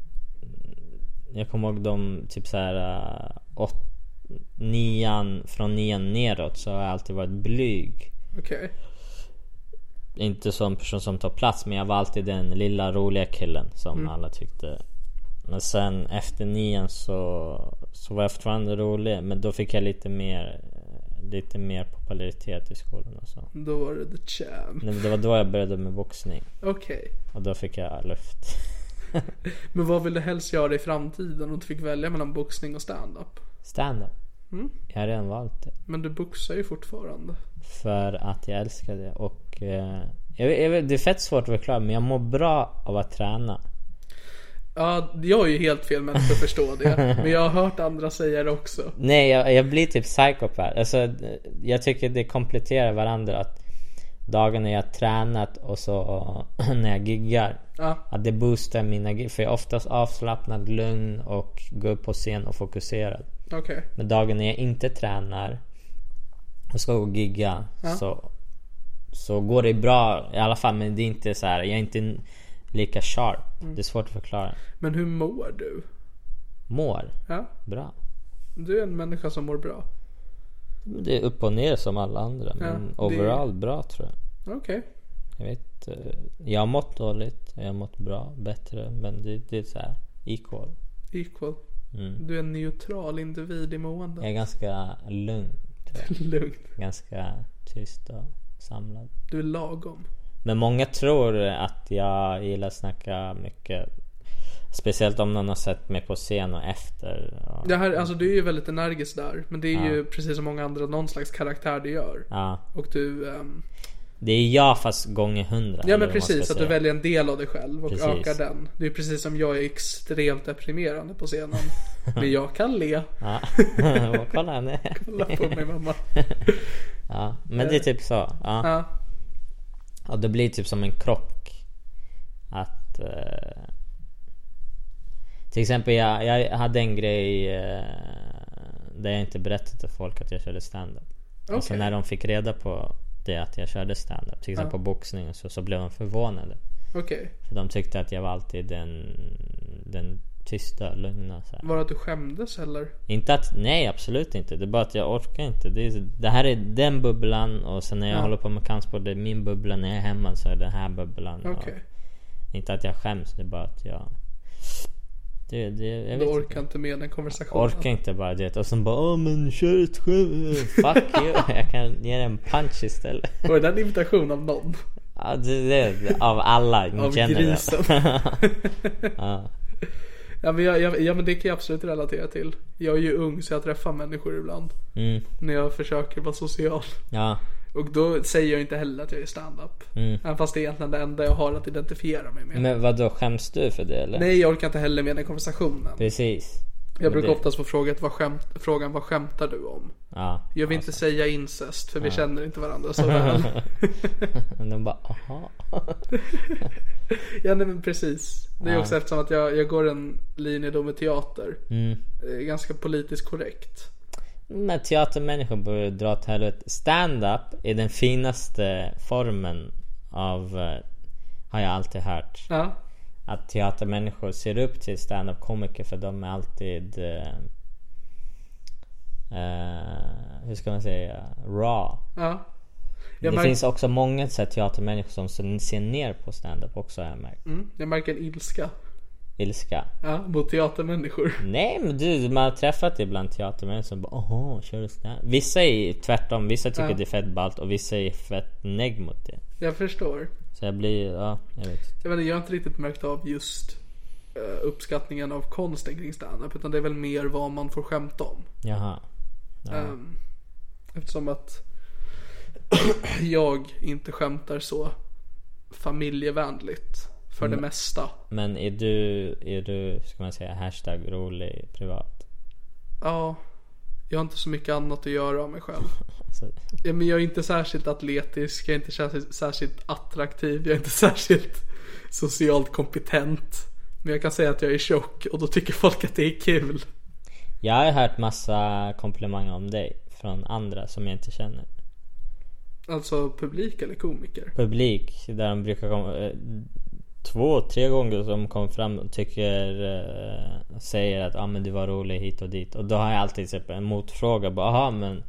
B: jag kommer ihåg de typ så här eh, åt, nian, från nian neråt så har jag alltid varit blyg.
A: Okej.
B: Inte som person som tar plats men jag var alltid den lilla roliga killen som alla tyckte. Men sen efter nian så, så var jag fortfarande rolig men då fick jag lite mer, lite mer popularitet i skolan och så.
A: Då var det the champ.
B: Nej, men Det var då jag började med boxning
A: Okej.
B: och då fick jag luft. *laughs*
A: Men vad vill du helst göra i framtiden om du fick välja mellan boxning och stand-up?
B: Stand-up. Jag har redan valt det.
A: Men du boxar ju fortfarande.
B: För att jag älskar det och... Eh, jag, vet- jag, vet- det är fett svårt att förklara men jag mår bra av att träna.
A: Ja, jag är ju helt fel människa att förstå det. Men jag har hört andra säga det också.
B: Nej, jag, jag blir typ psykopat. Alltså, eh, jag tycker det kompletterar varandra. Att dagarna jag har tränat och *clears throat* så när jag giggar.
A: Ja,
B: Att det boostar mina gig. För jag är oftast avslappnad, lugn och går upp på scen och fokuserad.
A: okej.
B: Men dagen när jag inte tränar och ska gå och gigga så, så går det bra i alla fall. Men det är inte så här, jag är inte lika sharp. Det är svårt att förklara.
A: Men hur mår du?
B: Mår
A: Ja,
B: bra.
A: du är en människa som mår bra.
B: Det är upp och ner som alla andra. Men
A: det-
B: overall bra tror jag.
A: Okej.
B: Jag vet eh, Jag har mått dåligt. Jag har mått bra, bättre. Men det, det är så här equal.
A: Equal.
B: Mm.
A: Du är en neutral individ i mående.
B: Jag är ganska lugn tror
A: *laughs*
B: jag.
A: Lugn.
B: Ganska tyst och samlad.
A: Du är lagom.
B: Men många tror att jag gillar att snacka mycket. Speciellt om någon har sett mig på scen och efter. Och,
A: Det här, alltså du är ju väldigt energisk där. Men det är ju precis som många andra någon slags karaktär du gör.
B: ja.
A: Och du... ehm,
B: Det är jag fast gånger hundra.
A: ja
B: eller
A: men
B: vad man ska
A: precis, att du
B: säga.
A: väljer en del av dig själv och
B: Precis.
A: ökar den. Det är precis som jag är extremt deprimerande på
B: *laughs*
A: scenen. men jag kan le.
B: Och *laughs*
A: *laughs*
B: Kolla henne.
A: Kolla på mig mamma.
B: Ja, men det är typ så. Ja.
A: Ja.
B: Och det blir typ som en krock. Att... Eh, till exempel jag, jag hade en grej eh, där jag inte berättade till folk att jag körde stand-up. Och så
A: Okej.
B: när de fick reda på det att jag körde stand-up, till exempel boxning och så, så blev de förvånade.
A: Okej.
B: För de tyckte att jag var alltid den, den tysta, lugna. Så här.
A: Var det att du skämdes eller?
B: Inte att, nej absolut inte. Det är bara att jag orkar inte. Det, är, det här är den bubblan och sen när jag håller på med kampsport, det är min bubbla. När jag är hemma så är det den här bubblan.
A: Okej.
B: Och inte att jag skäms, det är bara att jag... Det, det, jag
A: Du
B: vet inte.
A: orkar inte med den konversationen.
B: Orkar inte bara det. Och sen bara åh men kör ett skämt.
A: *laughs*
B: Fuck you. Jag kan ge dig en punch istället.
A: Var det en invitation av någon?
B: Ja, det, det, av alla in
A: Av
B: general. *laughs*
A: grisen. *laughs* Ja men, jag, jag, ja men det kan jag absolut relatera till. Jag är ju ung så jag träffar människor ibland.
B: Mm.
A: När jag försöker vara social.
B: Ja.
A: Och då säger jag inte heller att jag är stand-up. Även fast det är egentligen det enda jag har att identifiera mig med.
B: Mm. Men vad då skäms du för det eller?
A: Nej jag orkar inte heller med den konversationen.
B: Precis.
A: Jag brukar
B: det-
A: oftast få frågat, vad skämt, frågan vad skämtar du om?
B: Ja. alltså.
A: Jag vill inte säga incest för vi känner inte varandra så väl.
B: *laughs* Men de bara aha.
A: Ja nej, men precis. Det är också eftersom att jag, jag går en linje då med teater.
B: Mm.
A: Eh, Ganska politiskt korrekt.
B: Men teatermänniskor borde dra åt helvete. Stand-up är den finaste formen av, eh, har jag alltid hört.
A: Ja.
B: Att teatermänniskor ser upp till stand-up komiker för de är alltid, eh, eh, hur ska man säga, raw.
A: ja.
B: Det
A: Jag, märk,
B: finns också många så här, teatermänniskor som ser- ser ner på stand-up också har jag märkt.
A: jag märker en ilska
B: Ilska.
A: ja, mot teatermänniskor.
B: Nej men du, man har träffat ibland teatermänniskor som bara åh, kör du stand Vissa är tvärtom, vissa tycker det är fett ballt och vissa är fett neg mot det.
A: Jag förstår.
B: Så jag blir, ja, jag vet.
A: Jag, vet, inte, jag har inte riktigt märkt av just eh, uppskattningen av konsten kring standup. Utan det är väl mer vad man får skämta om.
B: Jaha.
A: Ehm, eftersom att *clears throat* jag inte skämtar så familjevänligt för
B: Mm.
A: det mesta.
B: Men är du, är du, ska man säga, hashtag rolig privat?
A: Ja, jag har inte så mycket annat att göra av mig själv.
B: Så,
A: Ja, men jag är inte särskilt atletisk, jag är inte särskilt, särskilt attraktiv, jag är inte *laughs* särskilt socialt kompetent. Men jag kan säga att jag är tjock och då tycker folk att det är kul.
B: jag har hört massa komplimanger om dig från andra som jag inte känner.
A: Alltså publik eller komiker.
B: Publik, där de brukar komma, eh, två, tre gånger som kom fram och tycker, eh, säger att ah, men du var rolig hit och dit. Och då har jag alltid typ, en motfråga, bara aha men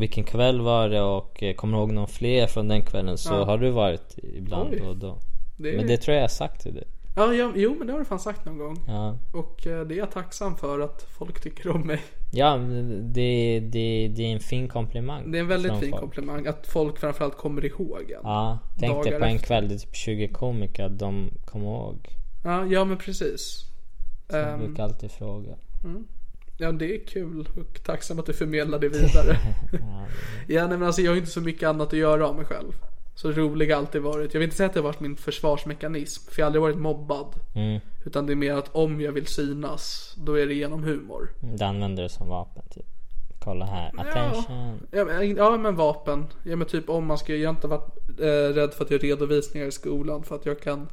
B: vilken kväll var det och eh, kommer du ihåg någon fler från den kvällen? Så har du varit ibland
A: Oj.
B: då och då.
A: Det är...
B: Men det tror jag jag har sagt till dig.
A: ja, ja, jo men det har du fan sagt någon gång.
B: Ja.
A: Och eh, det är jag tacksam för att folk tycker om mig.
B: Ja, det, det, det är en fin komplimang.
A: Det är en väldigt
B: från
A: fin
B: folk.
A: komplimang att folk framförallt kommer ihåg en. Ja.
B: Ja, tänk dig
A: Dagar
B: på en
A: efter.
B: kväll, det är typ 20 komiker, de kommer ihåg.
A: Ja, men precis.
B: De
A: Ehm.
B: brukar alltid fråga.
A: Ja, det är kul och tacksam att du förmedlar det vidare. *laughs* ja, nej, men alltså jag har ju inte så mycket annat att göra av mig själv. Så rolig har alltid varit. Jag vill inte säga att det har varit min försvarsmekanism, för jag har aldrig varit mobbad. Utan det är mer att om jag vill synas, då är det genom humor.
B: De använder det som vapen typ. Kolla här, attention.
A: Ja, men, ja, men vapen. Ja, men typ om man ska, jag har inte varit eh, rädd för att göra redovisningar i skolan för att jag kan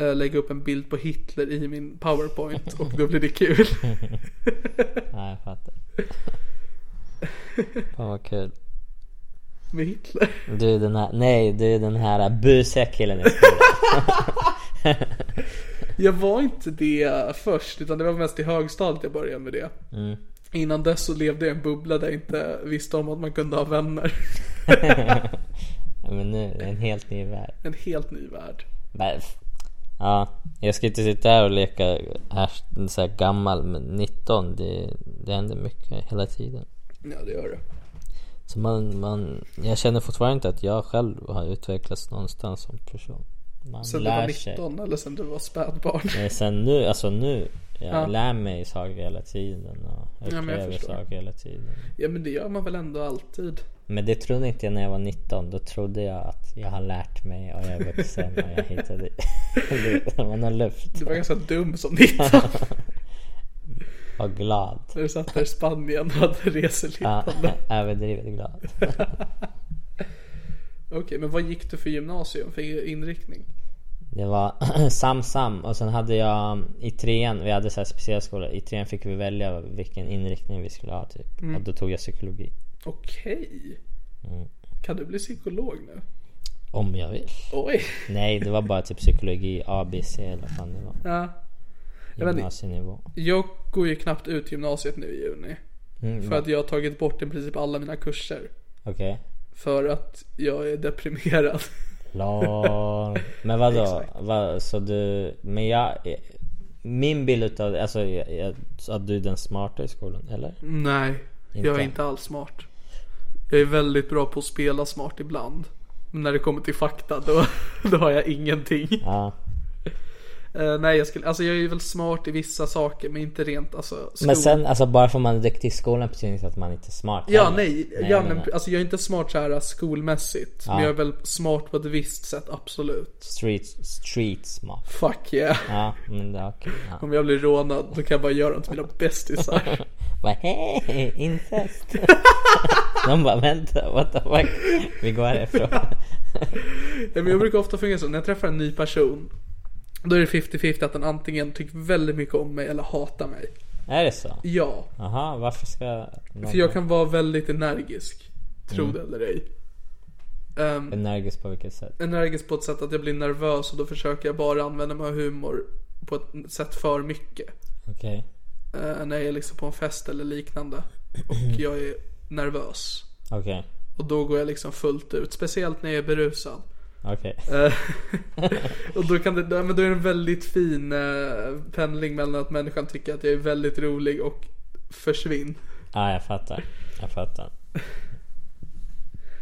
A: eh, lägga upp en bild på Hitler i min powerpoint och då blir det kul. *laughs*
B: Ja, jag fattar. Fan vad kul.
A: Med Hitler.
B: Du är den här, nej du är den här busiga killen i skolan.
A: Jag var inte det först utan det var mest i högstadiet jag började med det.
B: Mm.
A: Innan dess så levde jag i en bubbla där jag inte visste om att man kunde ha vänner. *laughs*
B: Men nu, är det en helt ny värld.
A: En helt ny värld.
B: Men f- Ja, jag ska inte sitta här och leka Ash, så här gammal men 19. Det, det händer mycket hela tiden.
A: Ja, det gör det.
B: Så man, man, jag känner fortfarande inte att jag själv har utvecklats någonstans som person. Man
A: Sen du var
B: lär
A: 19
B: sig.
A: eller sen du var spädbarn.
B: Nej, sen nu, alltså nu. Jag
A: Ja.
B: lär mig saker hela tiden och
A: jag
B: upplever
A: förstår.
B: saker hela tiden.
A: Ja, men det gör man väl ändå alltid.
B: Men det trodde inte jag när jag var 19. Då trodde jag att jag har lärt mig och jag är vuxen och jag hittade... *laughs* det var någon luft.
A: Du var ganska dum som 19
B: *laughs* Var glad.
A: när du satt där i Spanien och hade
B: Ja,
A: reseliggande.
B: *laughs* överdrivet glad.
A: Okej, men vad gick du för gymnasium? För inriktning?
B: Det var *clears throat* SamSam och sen hade jag i trean, vi hade så här specialskola, i trean fick vi välja vilken inriktning vi skulle ha typ.
A: Mm.
B: Och då tog jag psykologi.
A: Okej.
B: Mm.
A: Kan du bli psykolog nu?
B: Om jag vill.
A: Oj.
B: Nej, det var bara typ psykologi, A, B, C eller vad fan det var.
A: Ja. Jag, vet, inte,
B: Gymnasienivå.
A: jag går ju knappt ut gymnasiet nu i juni.
B: Mm,
A: För att jag har tagit bort i princip alla mina kurser.
B: Okej.
A: För att jag är deprimerad.
B: LOL. Men vadå?
A: Exakt.
B: Vad, så du... Men jag... Min bild utav det, alltså jag, jag, att du är den smarta i skolan, eller?
A: Nej, jag
B: Inte?
A: är inte alls smart. Jag är väldigt bra på att spela smart ibland. Men när det kommer till fakta då, *laughs* då har jag ingenting.
B: Ja.
A: Eh, nej, jag, skulle, alltså jag är väl smart i vissa saker men inte rent alltså skol-
B: Men sen, alltså bara för att man är duktig i skolan betyder inte att man inte är smart.
A: Ja,
B: heller.
A: nej. ja,
B: jag
A: men,
B: menar,
A: alltså jag är inte smart så här skolmässigt. Men
B: Ja.
A: jag är väl smart på ett visst sätt, absolut.
B: Street, street smart.
A: Fuck yeah.
B: Ja, men det är okej. Ja.
A: Om jag blir rånad då kan jag bara göra det till mina bästisar.
B: *laughs* Bara hej,
A: *laughs*
B: incest! De bara vänta, what the fuck? Vi går härifrån.
A: Nej, men jag brukar ofta fungera så, när jag träffar en ny person då är det 50-50 att den antingen tycker väldigt mycket om mig eller hatar mig.
B: Är det så?
A: Ja,
B: Jaha, varför ska... någon
A: för jag kan vara väldigt energisk. Tro det
B: Mm.
A: eller ej. Ehm,
B: Energisk på vilket sätt?
A: energisk på ett sätt att jag blir nervös och då försöker jag bara använda mig av humor på ett sätt för mycket.
B: Okej.
A: Eh, när jag är liksom på en fest eller liknande. Och jag är nervös.
B: Okej.
A: Och då går jag liksom fullt ut. Speciellt när jag är berusad.
B: Okej.
A: Eh, *laughs* och då, kan det, då, men då är det en väldigt fin eh, pendling mellan att människan tycker att jag är väldigt rolig och försvinn.
B: Ja, jag fattar. Jag fattar.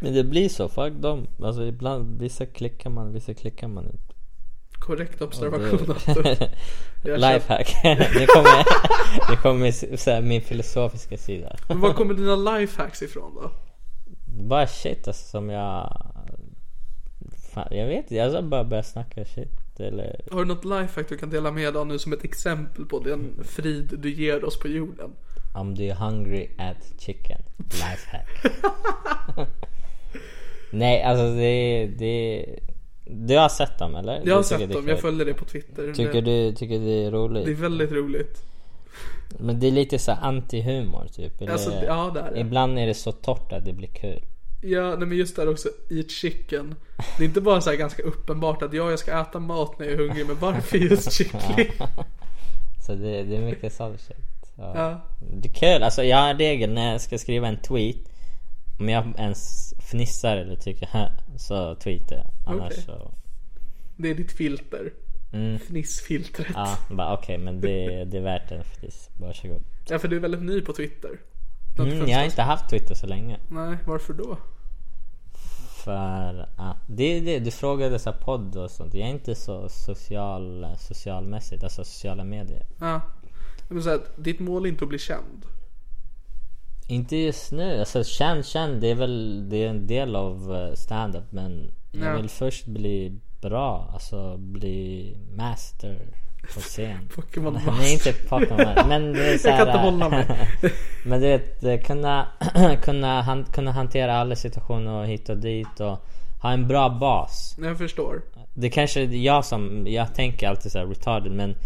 B: Men det blir så, fuck dem. Alltså ibland, vissa klickar man, vissa klickar man inte.
A: Korrekt observation
B: Det- *laughs*
A: Arthur. Jag känner-
B: Lifehack. Det kommer, det kommer så här, min filosofiska sida.
A: Men var kommer dina lifehacks ifrån då?
B: Bara shit alltså, som jag... Fan, jag vet inte, jag ska bara börja snacka shit eller...
A: Har du något lifehack du kan dela med dig av nu som ett exempel på den
B: Mm.
A: frid du ger oss på jorden?
B: Om du är hungry at chicken. Lifehack.
A: *laughs*
B: Nej alltså det, det... Du har sett dem eller?
A: Jag har
B: Du
A: sett
B: tycker det är
A: dem, jag
B: kul.
A: följer det på Twitter.
B: Tycker du tycker det är roligt?
A: Det är väldigt roligt.
B: Men det är lite så här anti-humor typ. Eller...
A: Alltså, ja, det är det.
B: Ibland är det så torrt att det blir kul.
A: Ja, nej men just där också, eat chicken. Det är inte bara så här ganska uppenbart att ja, jag ska äta mat när jag är hungrig, men varför just
B: *laughs*
A: kyckling?
B: Så det, det är mycket sån shit. Ja.
A: Ja.
B: Det är kul, alltså jag har en regel när jag ska skriva en tweet Om jag ens fnissar eller tycker "Hä", så tweetar jag Annars
A: Okej.
B: så...
A: Det är ditt filter. Fnissfiltret.
B: Mm. Ja, bara okej men det, det är värt en fniss, varsågod
A: Ja, för du är väldigt ny på Twitter.
B: mm, Jag har inte haft Twitter så länge
A: Nej, varför då?
B: För att... Det är det, du frågade så här podd och sånt Jag är inte så social, socialmässigt, alltså sociala medier
A: Ja. Jag vill säga att ditt mål är inte att bli känd.
B: Inte just nu, alltså känd känd det är väl det är en del av eh, stand-up men
A: Ja.
B: jag vill först bli bra, alltså bli master
A: *laughs*
B: på scen.
A: Pokémon
B: Nej inte
A: *laughs*
B: Pokémon men det är så
A: Jag kan inte
B: här,
A: hålla mig.
B: *laughs* Men du vet eh, kunna, *clears throat* kunna, han, kunna hantera alla situationer och hit och dit och ha en bra bas.
A: Jag förstår.
B: Det kanske är jag som, jag tänker alltid så här retarded men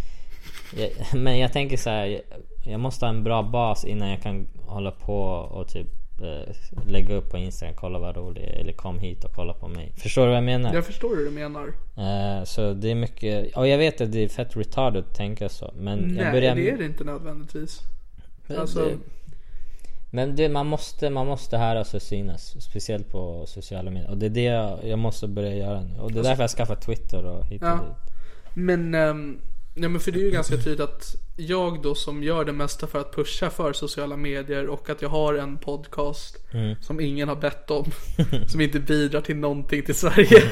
B: jag, Men jag tänker så här. jag- Jag måste ha en bra bas innan jag kan hålla på och typ eh, Lägga upp på Instagram, kolla vad rolig jag är, eller kom hit och kolla på mig Förstår du vad jag menar?
A: Jag förstår hur du menar.
B: Eh, så det är mycket, och jag vet att det är fett retarded att tänka så men jag
A: Nej,
B: börjar
A: det är det inte nödvändigtvis.
B: det-
A: Alltså,
B: Men det, man måste, man måste höras och synas Speciellt på sociala medier och det är det jag, jag måste börja göra nu Och det är därför jag skaffar Twitter och hit och
A: Alltså- Ja.
B: dit
A: Men, ehm, nej men för det är ju ganska tydligt att jag då som gör det mesta för att pusha för sociala medier och att jag har en podcast
B: Mm.
A: som ingen har bett
B: *laughs*
A: om. som inte bidrar till någonting till Sverige.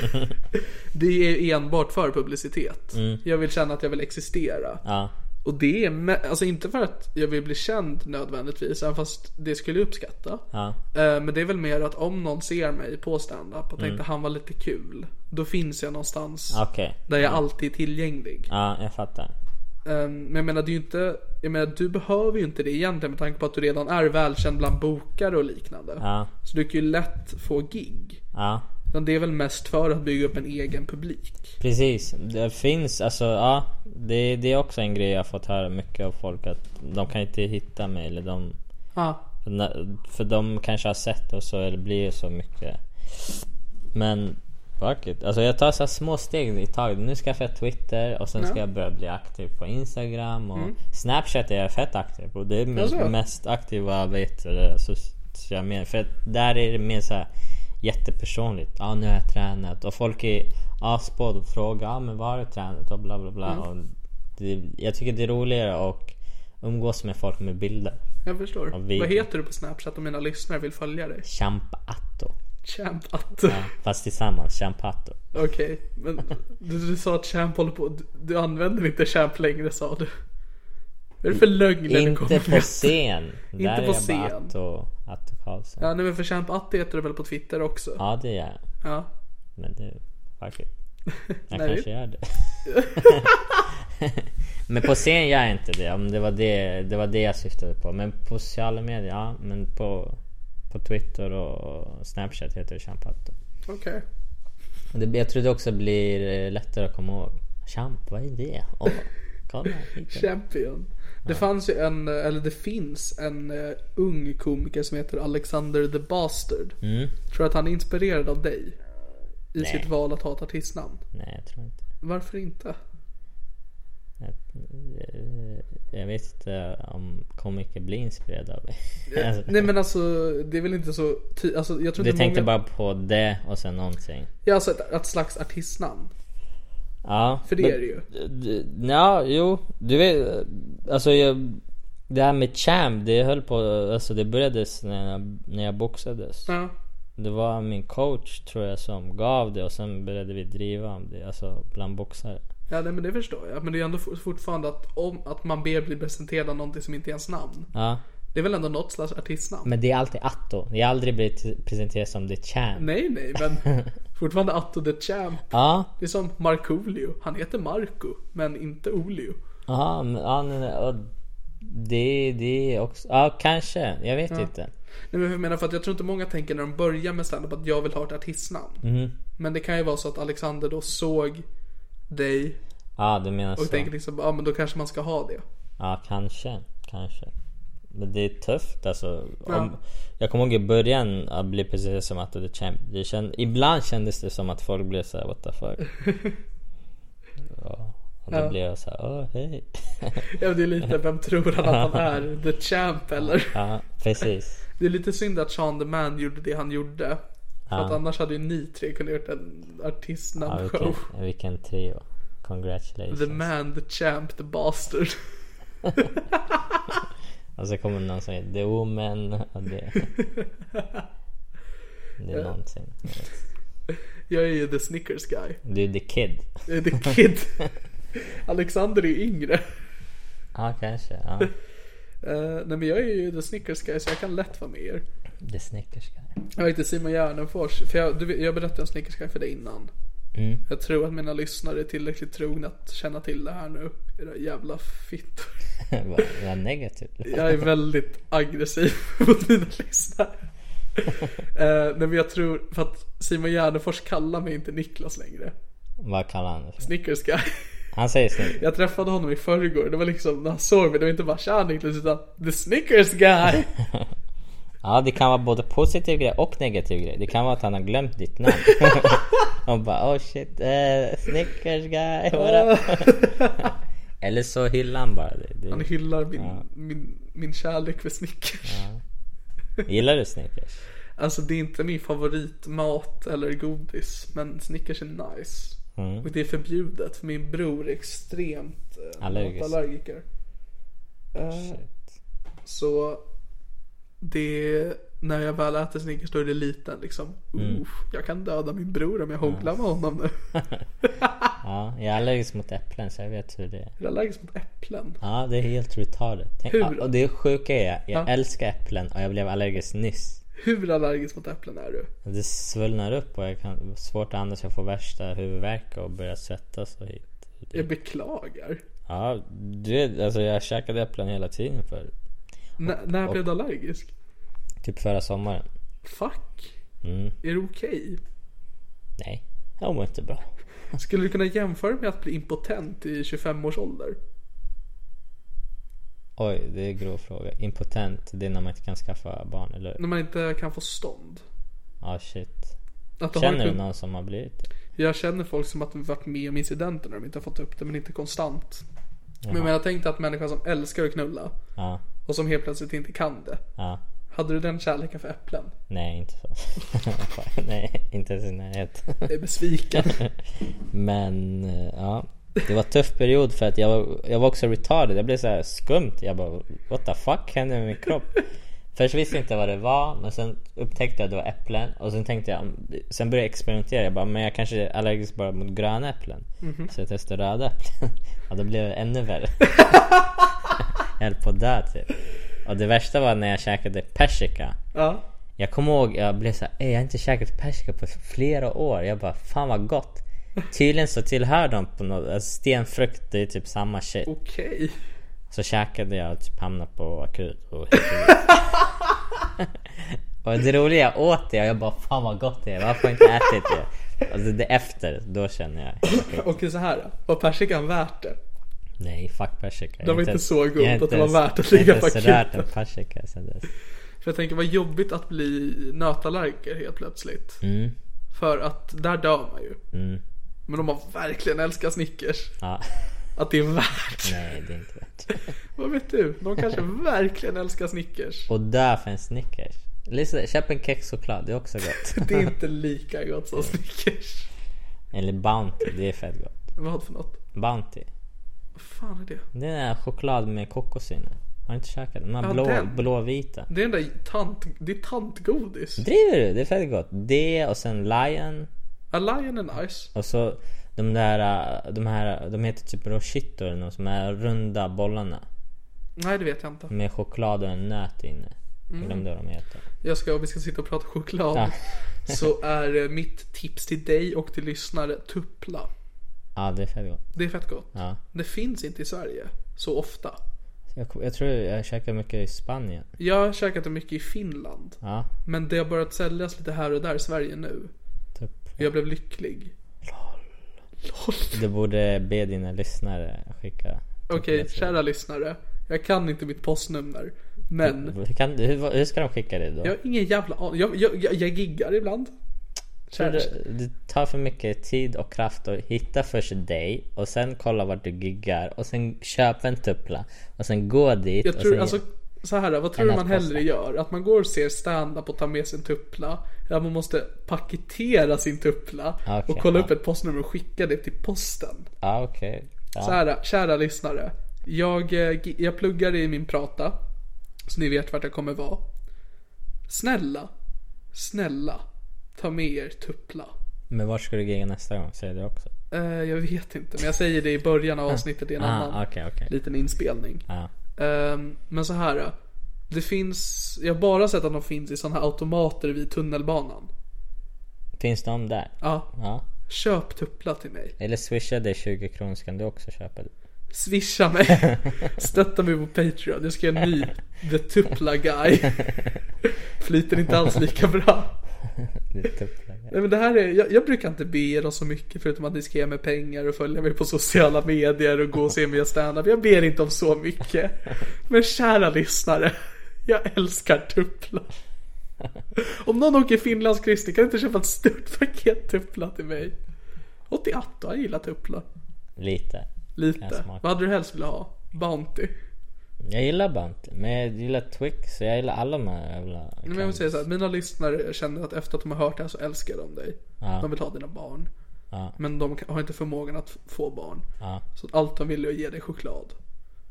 A: det är enbart för publicitet. Jag vill känna att jag vill existera.
B: Mm. Ja.
A: Och det är, me- alltså inte för att jag vill bli känd nödvändigtvis, även fast det skulle jag uppskatta.
B: Ja.
A: Eh, Men det är väl mer att om någon ser mig på stand-up och tänkte
B: Mm.
A: han var lite kul. Då finns jag någonstans
B: Okej.
A: där jag alltid är tillgänglig.
B: Ja, jag fattar.
A: Eh, Men jag menar, det är ju inte, jag menar, du behöver ju inte det egentligen med tanke på att du redan är välkänd bland bokare och liknande.
B: Ja.
A: Så du kan ju lätt få gig.
B: Ja.
A: Men det är väl mest för att bygga upp en egen publik.
B: Precis, det finns alltså ja det, det är också en grej jag har fått höra mycket av folk att de kan inte hitta mig eller de
A: Ja,
B: för na- För de kanske har sett och så eller blir det så mycket Men fuck it. Alltså jag tar så här små steg i taget. Nu skaffar jag Twitter och sen ska jag börja bli aktiv på Instagram och Snapchat är jag fett aktiv på. Det är min
A: Jaså?
B: mest aktiva vet du, det, sociala medier. För att där är det mer så här jättepersonligt. Ja nu har jag tränat och folk är aspåd och frågar ja men var har du tränat och bla bla bla. Och det, jag tycker det är roligare att umgås med folk med bilder.
A: jag förstår.
B: Ja, vi-
A: Vad heter du på Snapchat om mina lyssnare vill följa dig?
B: Champa Atto.
A: Champ att...
B: Fast tillsammans, Champato.
A: *laughs* Okej, men du, du sa att Champ håller på... Du, du använder inte Champ längre sa du. Vad är det för lögner du kommer
B: Inte på
A: med? *laughs*
B: scen. Där är
A: på
B: jag
A: scen.
B: bara Atto, Atto Karlsson.
A: Ja,
B: Ja.
A: nej men för Champ Atti heter det väl på Twitter också? Ja.
B: det gör jag. Men det...
A: *laughs*
B: Fuck it. Jag
A: Nej. *laughs*
B: kanske gör det. *laughs* men på scen gör jag inte det. Om det var det, det var det jag syftade på. Men på sociala medier, ja. Men på, på Twitter och Snapchat heter det Champato.
A: Okej.
B: Och det, jag tror det också blir eh, lättare att komma ihåg. Champ, vad är det? Åh, kolla. hit.
A: Champion. Det fanns ju en, eller det finns en eh, ung komiker som heter Alexander the Bastard. Tror du att han är inspirerad av dig? I
B: Mm. Nej.
A: sitt val att ha ett artistnamn.
B: Nej, jag tror inte.
A: Varför inte?
B: Jag, Eh, jag vet inte om komiker blir inspirerade av det. Alltså,
A: Nej men alltså, det är väl inte så... Ty- alltså, jag tror
B: du
A: inte
B: tänkte
A: många...
B: bara på det och sen någonting.
A: Ja, alltså ett, ett slags artistnamn.
B: Ja.
A: För det
B: men-
A: är det ju.
B: d- Ja, jo. Du vet. Alltså jag, det här med champ, det höll på... Alltså det började när jag, när jag boxades.
A: Ja.
B: Det var min coach tror jag som gav det och sen började vi driva om det. Alltså bland boxare.
A: Ja, nej, men det förstår jag. Men det är ändå for- fortfarande att, om, att man ber bli presenterad av någonting som inte är ens namn.
B: Ja.
A: Det är väl ändå något slags artistnamn?
B: Men det är alltid Atto. Jag har aldrig blivit presenterad som the champ.
A: Nej, nej,
B: *laughs*
A: men fortfarande Atto the Champ.
B: Ja.
A: Det är som Markoolio. Han heter Marco, men inte Olio.
B: Jaha, men- ja, nej, nej, och det, det är också... Ja, kanske. Jag vet inte.
A: Nej, men jag menar för att jag tror inte många tänker när de börjar med standup att jag vill ha ett artistnamn.
B: Mm-hmm.
A: Men det kan ju vara så att Alexander då såg dig
B: Ja, du menar
A: och
B: så.
A: tänker liksom, ja men då kanske man ska ha det.
B: Ja, kanske. Kanske. Men det är tufft alltså.
A: Ja.
B: Om, jag kommer ihåg i början att bli precis som att det kämp, det känd, Ibland kändes det som att folk blev såhär what
A: *laughs*
B: the fuck. ja, och då
A: Ja.
B: blev jag såhär åh hej.
A: Ja, det är lite, vem tror han att
B: *laughs*
A: han är? The Champ eller?
B: ja, precis.
A: Det är lite synd att Sean the Man gjorde det han gjorde. För att annars hade ju ni tre kunnat gjort en
B: Ja,
A: artistnamnshow.
B: vilken, vilken trio. Congratulations.
A: The Man, The Champ, The Bastard.
B: Och så Alltså, kommer någon som heter The Woman och det... Det är någonting.
A: Jag är ju The Snickers Guy.
B: Du är The Kid.
A: Jag är The Kid. Alexander är yngre.
B: Ja, kanske. Ja.
A: Eh, nej men jag är ju The Snickers Guy så jag kan lätt vara med er.
B: The Snickers Guy. *laughs*
A: Jag heter Simon Gärdenfors. För jag, du, vet- jag berättade om Snickers Guy för dig innan.
B: Mm.
A: Jag tror att mina lyssnare är tillräckligt trogna att känna till det här nu. Era jävla fittor.
B: Vad- Vad negativt.
A: Jag är väldigt aggressiv *laughs* mot mina lyssnare. Uh, nej men jag tror, för att Simon Gärdenfors kallar mig inte Niklas längre.
B: Vad kallar han det för?
A: Snickers Guy.
B: Han säger Snickers.
A: Jag träffade honom i förrgår. Det var liksom, när han såg mig, det var inte bara tja Niklas utan The Snickers
B: *laughs*
A: Guy.
B: Ja, det kan vara både positiv grej och negativ grej. Det kan vara att han har glömt ditt namn. *laughs* Och bara oh shit, eh, Snickers Guy. what up?" *laughs* Eller så hyllar han bara dig.
A: Han
B: Du,
A: hyllar min, min, min kärlek för Snickers.
B: gillar du Snickers?
A: Alltså det är inte min favoritmat eller godis, men Snickers är nice. Och det är förbjudet för min bror är extremt eh,
B: Allergisk.
A: matallergiker. Eh,
B: Shit.
A: så det när jag väl äter Snickers då är det liten liksom.
B: Mm.
A: Uff, jag kan döda min bror om jag hånglar med honom
B: *laughs*
A: nu.
B: Ja, jag är allergisk mot äpplen så jag vet hur det är.
A: Jag är allergisk mot äpplen.
B: Ja, det är helt retarded. Tänk,
A: Hur?
B: Och det sjuka är,
A: Ja.
B: jag älskar äpplen och jag blev allergisk nyss.
A: Hur allergisk mot äpplen är du?
B: Det svullnar upp och jag kan, svårt att andas, jag får värsta huvudvärk och börjar svettas och hit.
A: Jag beklagar.
B: Ja, det, alltså jag käkade äpplen hela tiden för
A: N- när blev du allergisk?
B: typ förra sommaren.
A: Fuck.
B: Mm,
A: Är det okej?
B: nej, jag mår inte bra.
A: Skulle du kunna jämföra med att bli impotent i 25 års ålder?
B: Oj, det är en grov fråga. Impotent, det är när man inte kan skaffa barn, eller hur?
A: När man inte kan få stånd?
B: Ja, shit.
A: Att det har
B: Känner du
A: kun-
B: någon som har blivit det?
A: Jag känner folk som att de varit med om incidenter när de inte har fått upp det men inte konstant. Men jag menar, tänk dig att människan som älskar att knulla
B: Ja,
A: och som helt plötsligt inte kan det.
B: ja.
A: Hade du den kärleken för äpplen?
B: Nej, inte så. *laughs* nej, inte ens i närheten.
A: Jag är
B: *laughs*
A: besviken.
B: Men eh, ja, det var en tuff period för att jag var, jag var också retarded. Jag blev så här skumt. Jag bara what the fuck händer med min kropp? Först visste jag inte vad det var men sen upptäckte jag att det var äpplen och sen tänkte jag Sen började jag experimentera. Jag bara men jag kanske är allergisk bara mot gröna äpplen. Så jag testade röda äpplen. *laughs* Ja då blev det ännu värre. jag höll på att dö typ. Och det värsta var när jag käkade persika.
A: ja.
B: Jag kommer ihåg, jag blev såhär, "Ey, jag har inte käkat persika på flera år. Jag bara, fan vad gott. Tydligen så tillhör de på något, alltså stenfrukt, det är typ samma shit.
A: Okej.
B: Så käkade jag och typ hamnade på akut. Och, *laughs* och det roliga, jag åt det och jag bara, fan vad gott det är. Varför har jag inte ätit det? Alltså det efter, då känner jag,
A: Okej så här då. Var persikan värt det?
B: nej fuck persika.
A: Det var inte så god
B: jag har
A: att
B: inte
A: det var
B: ens-
A: värt att ligga
B: Jag har
A: på
B: inte ens rört en
A: akuten.
B: persika sen dess.
A: För jag tänker vad jobbigt att bli nötallergiker helt plötsligt.
B: Mm.
A: För att där dör man ju. Men om man verkligen älskar Snickers.
B: Ja,
A: Att det är värt.
B: nej det är inte värt
A: Vad vet du? De
B: *laughs*
A: kanske verkligen älskar Snickers.
B: Och dö för en Snickers. Lisa, köp en kexchoklad, det är också gott.
A: Det är inte lika gott som Snickers.
B: Eller Bounty, det är fett gott.
A: Vad för något?
B: Bounty.
A: Vad fan är det?
B: Det är choklad med kokos i nu. Har du inte käkat den? De här
A: Ja,
B: blå,
A: den.
B: blåvita.
A: Det är den där tant... Det är tantgodis.
B: Driver du? Det är fett gott. Det och sen Lion.
A: A lion är nice.
B: Och så de där, äh, de här, de heter typ Rochito eller något, som är runda bollarna.
A: Nej det vet jag inte.
B: Med choklad och en nöt inne. Jag
A: Mm.
B: glömde vad de heter.
A: Jag ska, om vi ska sitta och prata choklad.
B: Ja.
A: Så är eh, mitt tips till dig och till lyssnare tuppla.
B: Ja, det är fett gott.
A: Det är fett gott.
B: Ja.
A: Det finns inte i Sverige så ofta.
B: Jag, jag tror jag käkar mycket i Spanien.
A: Jag har käkat det mycket i Finland.
B: Ja,
A: Men det har börjat säljas lite här och där i Sverige nu.
B: typ.
A: Jag blev lycklig. LOL.
B: Du borde be dina lyssnare skicka.
A: Okej, kära lyssnare. Jag kan inte mitt postnummer. Men
B: Hur, kan, hur, hur ska de skicka det då?
A: jag har ingen jävla aning. Jag, jag, jag, jag giggar ibland.
B: Tror
A: Kära,
B: du, det tar för mycket tid och kraft att hitta först dig och sen kolla vart du giggar och sen köpa en tuppla och sen gå dit
A: jag
B: och
A: tror
B: sen
A: alltså så här, vad tror
B: En
A: du man
B: nätposta.
A: hellre gör? Att man går och ser stand-up och tar med sin tuppla. Eller att man måste paketera sin tuppla
B: Okej,
A: och kolla
B: ja.
A: upp ett postnummer och skicka det till posten.
B: Ja okej.
A: Så
B: Ja.
A: här, kära lyssnare. Jag, eh, gi- jag pluggar i min prata. Så ni vet vart jag kommer vara. Snälla, snälla, ta med er tuppla.
B: Men vart ska du gigga nästa gång? Säg det också.
A: Eh, jag vet inte, men jag säger det i början
B: *laughs*
A: av avsnittet i en annan
B: Ah, okej okej. Ah.
A: liten inspelning.
B: Ja.
A: Ehm, men så här. eh, Det finns, jag har bara sett att de finns i sådana här automater vid tunnelbanan.
B: Finns de där?
A: Ja,
B: Ja.
A: köp tuppla till mig.
B: Eller swisha dig 20 kronor så kan du också köpa det.
A: Swisha mig. Stötta mig på Patreon. Jag ska göra en ny The Tupla Guy. Flyter inte alls lika bra.
B: Det är tuppla.
A: Nej, men det här är, jag, jag brukar inte be er om så mycket förutom att ni ska ge mig pengar och följa mig på sociala medier och gå och se mig göra standup. Jag ber inte om så mycket. Men kära lyssnare, jag älskar Tupla. Om någon åker finlandskryssning kan du inte köpa ett stort paket Tupla till mig? 88, jag gillar Tupla.
B: Lite. Jag
A: Lite.
B: smakar.
A: Vad hade du helst vilja ha? Bounty?
B: Jag gillar Bounty, men jag gillar Twix så jag gillar alla de här jävla...
A: Men jag vill säga så här, mina lyssnare känner att efter att de har hört det här så älskar de dig.
B: Ja.
A: De vill ha dina barn. Men de kan- har inte förmågan att f- få barn.
B: Ja.
A: Så allt de vill är att ge dig choklad.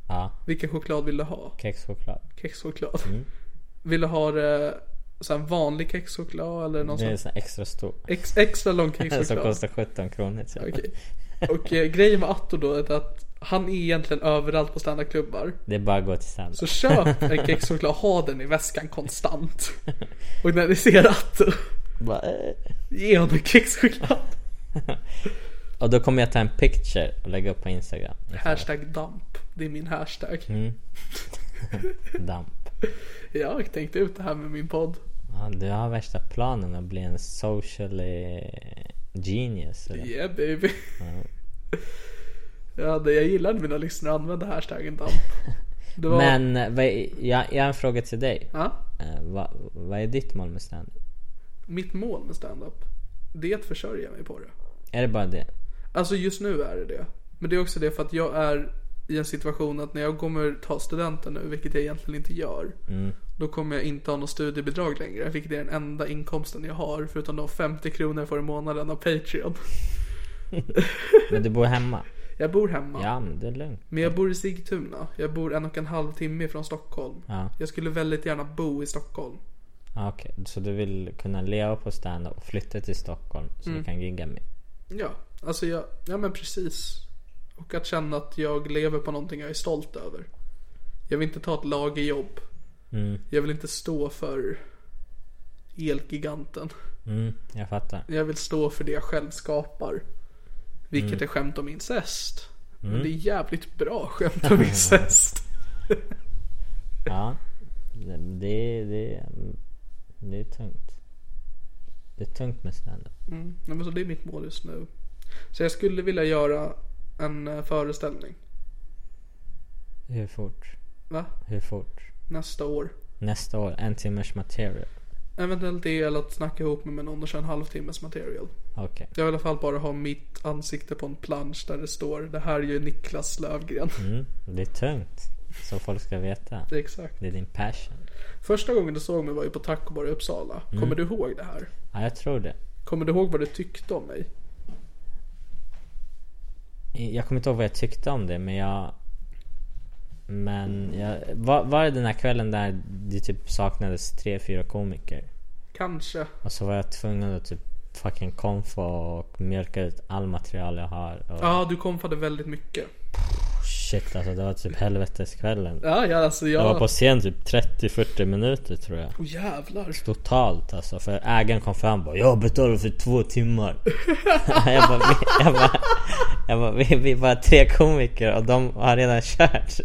B: Ja. Mm.
A: Vilken choklad vill du ha?
B: Kexchoklad.
A: Kexchoklad. *laughs* Vill du ha det, så här vanlig kexchoklad eller någon
B: Det är
A: sån
B: sån här extra stor.
A: ex, extra
B: *laughs*
A: lång
B: Som
A: kexchoklad?
B: kostar 17 kronor typ.
A: Okej. Och eh, grejen med Atto då är att han är egentligen överallt på standardklubbar.
B: Det är bara att gå till Sandra.
A: Så köp
B: *laughs*
A: en kexchoklad, ha den i väskan konstant. Och när ni ser Atto,
B: Bara, eh.
A: ge honom kexchoklad.
B: Och då kommer jag ta en picture och lägga upp på Instagram.
A: Hashtag damp. Det är min hashtag.
B: Damp.
A: Jag har tänkt ut det här med min podd.
B: Ja, du har värsta planen att bli en social eh, genius. Eller?
A: Yeah baby. *laughs* Ja, det, jag gillade mina lyssnare använde hashtaggen damp. Det var,
B: *laughs* Men eh, vad är, jag, jag har en fråga till dig.
A: Ja,
B: Eh, vad, vad är ditt mål med stand
A: mitt mål med stand-up, det är att försörja mig på det.
B: Är det bara det?
A: Alltså just nu är det det. Men det är också det för att jag är i en situation att när jag kommer ta studenten nu, vilket jag egentligen inte gör.
B: Mm.
A: Då kommer jag inte ha något studiebidrag längre, vilket är den enda inkomsten jag har. Förutom de 50 kronor jag får i månaden av Patreon.
B: Men du bor hemma?
A: Jag bor hemma.
B: Ja, men det är lugnt.
A: Men jag bor i Sigtuna. Jag bor en och en halv timme från Stockholm.
B: Ja.
A: Jag skulle väldigt gärna bo i Stockholm.
B: Ah, Okej, så du vill kunna leva på stand och flytta till Stockholm så du kan gigga med?
A: Ja, alltså jag, ja men precis. Och att känna att jag lever på någonting jag är stolt över. Jag vill inte ta ett lagerjobb. Jag vill inte stå för Elgiganten.
B: Mm, jag fattar.
A: Jag vill stå för det jag själv skapar. Vilket är skämt om incest. Men det är jävligt bra skämt om incest. *laughs*
B: Ja. Det, det, det, det är tungt. Det är tungt med stand
A: Nej, men så det är mitt mål just nu. Så jag skulle vilja göra en eh, föreställning.
B: Hur fort?
A: Va?
B: Hur fort?
A: Nästa år.
B: Nästa år, en timmars material.
A: Eventuellt det eller att snacka ihop mig med någon och köra en halvtimmes material.
B: Okej.
A: Jag vill i alla fall bara ha mitt ansikte på en plansch där det står Det här är ju Niklas Lövgren.
B: Mm, det är tungt. Så folk ska veta.
A: Exakt.
B: Det är din passion.
A: Första gången du såg mig var ju på Taco Bar i Uppsala.
B: Mm.
A: Kommer du ihåg det här?
B: Ja, jag tror det.
A: Kommer du ihåg vad du tyckte om mig?
B: Jag kommer inte ihåg vad jag tyckte om det, men jag... Men jag... Var, var det den här kvällen där det typ saknades tre, fyra komiker?
A: Kanske.
B: Och så var jag tvungen att typ fucking konfa och mjölka ut all material jag har. Och
A: Ja, du komfade väldigt mycket.
B: shit alltså, det var typ helveteskvällen.
A: Ja, ja alltså jag...
B: Jag var på scen typ 30-40 minuter tror jag.
A: Åh, jävlar.
B: Totalt alltså, för ägaren kom fram och bara Jag betalar för två timmar *laughs* jag, bara, vi, jag, bara, jag bara, vi, vi är bara tre komiker och de har redan kört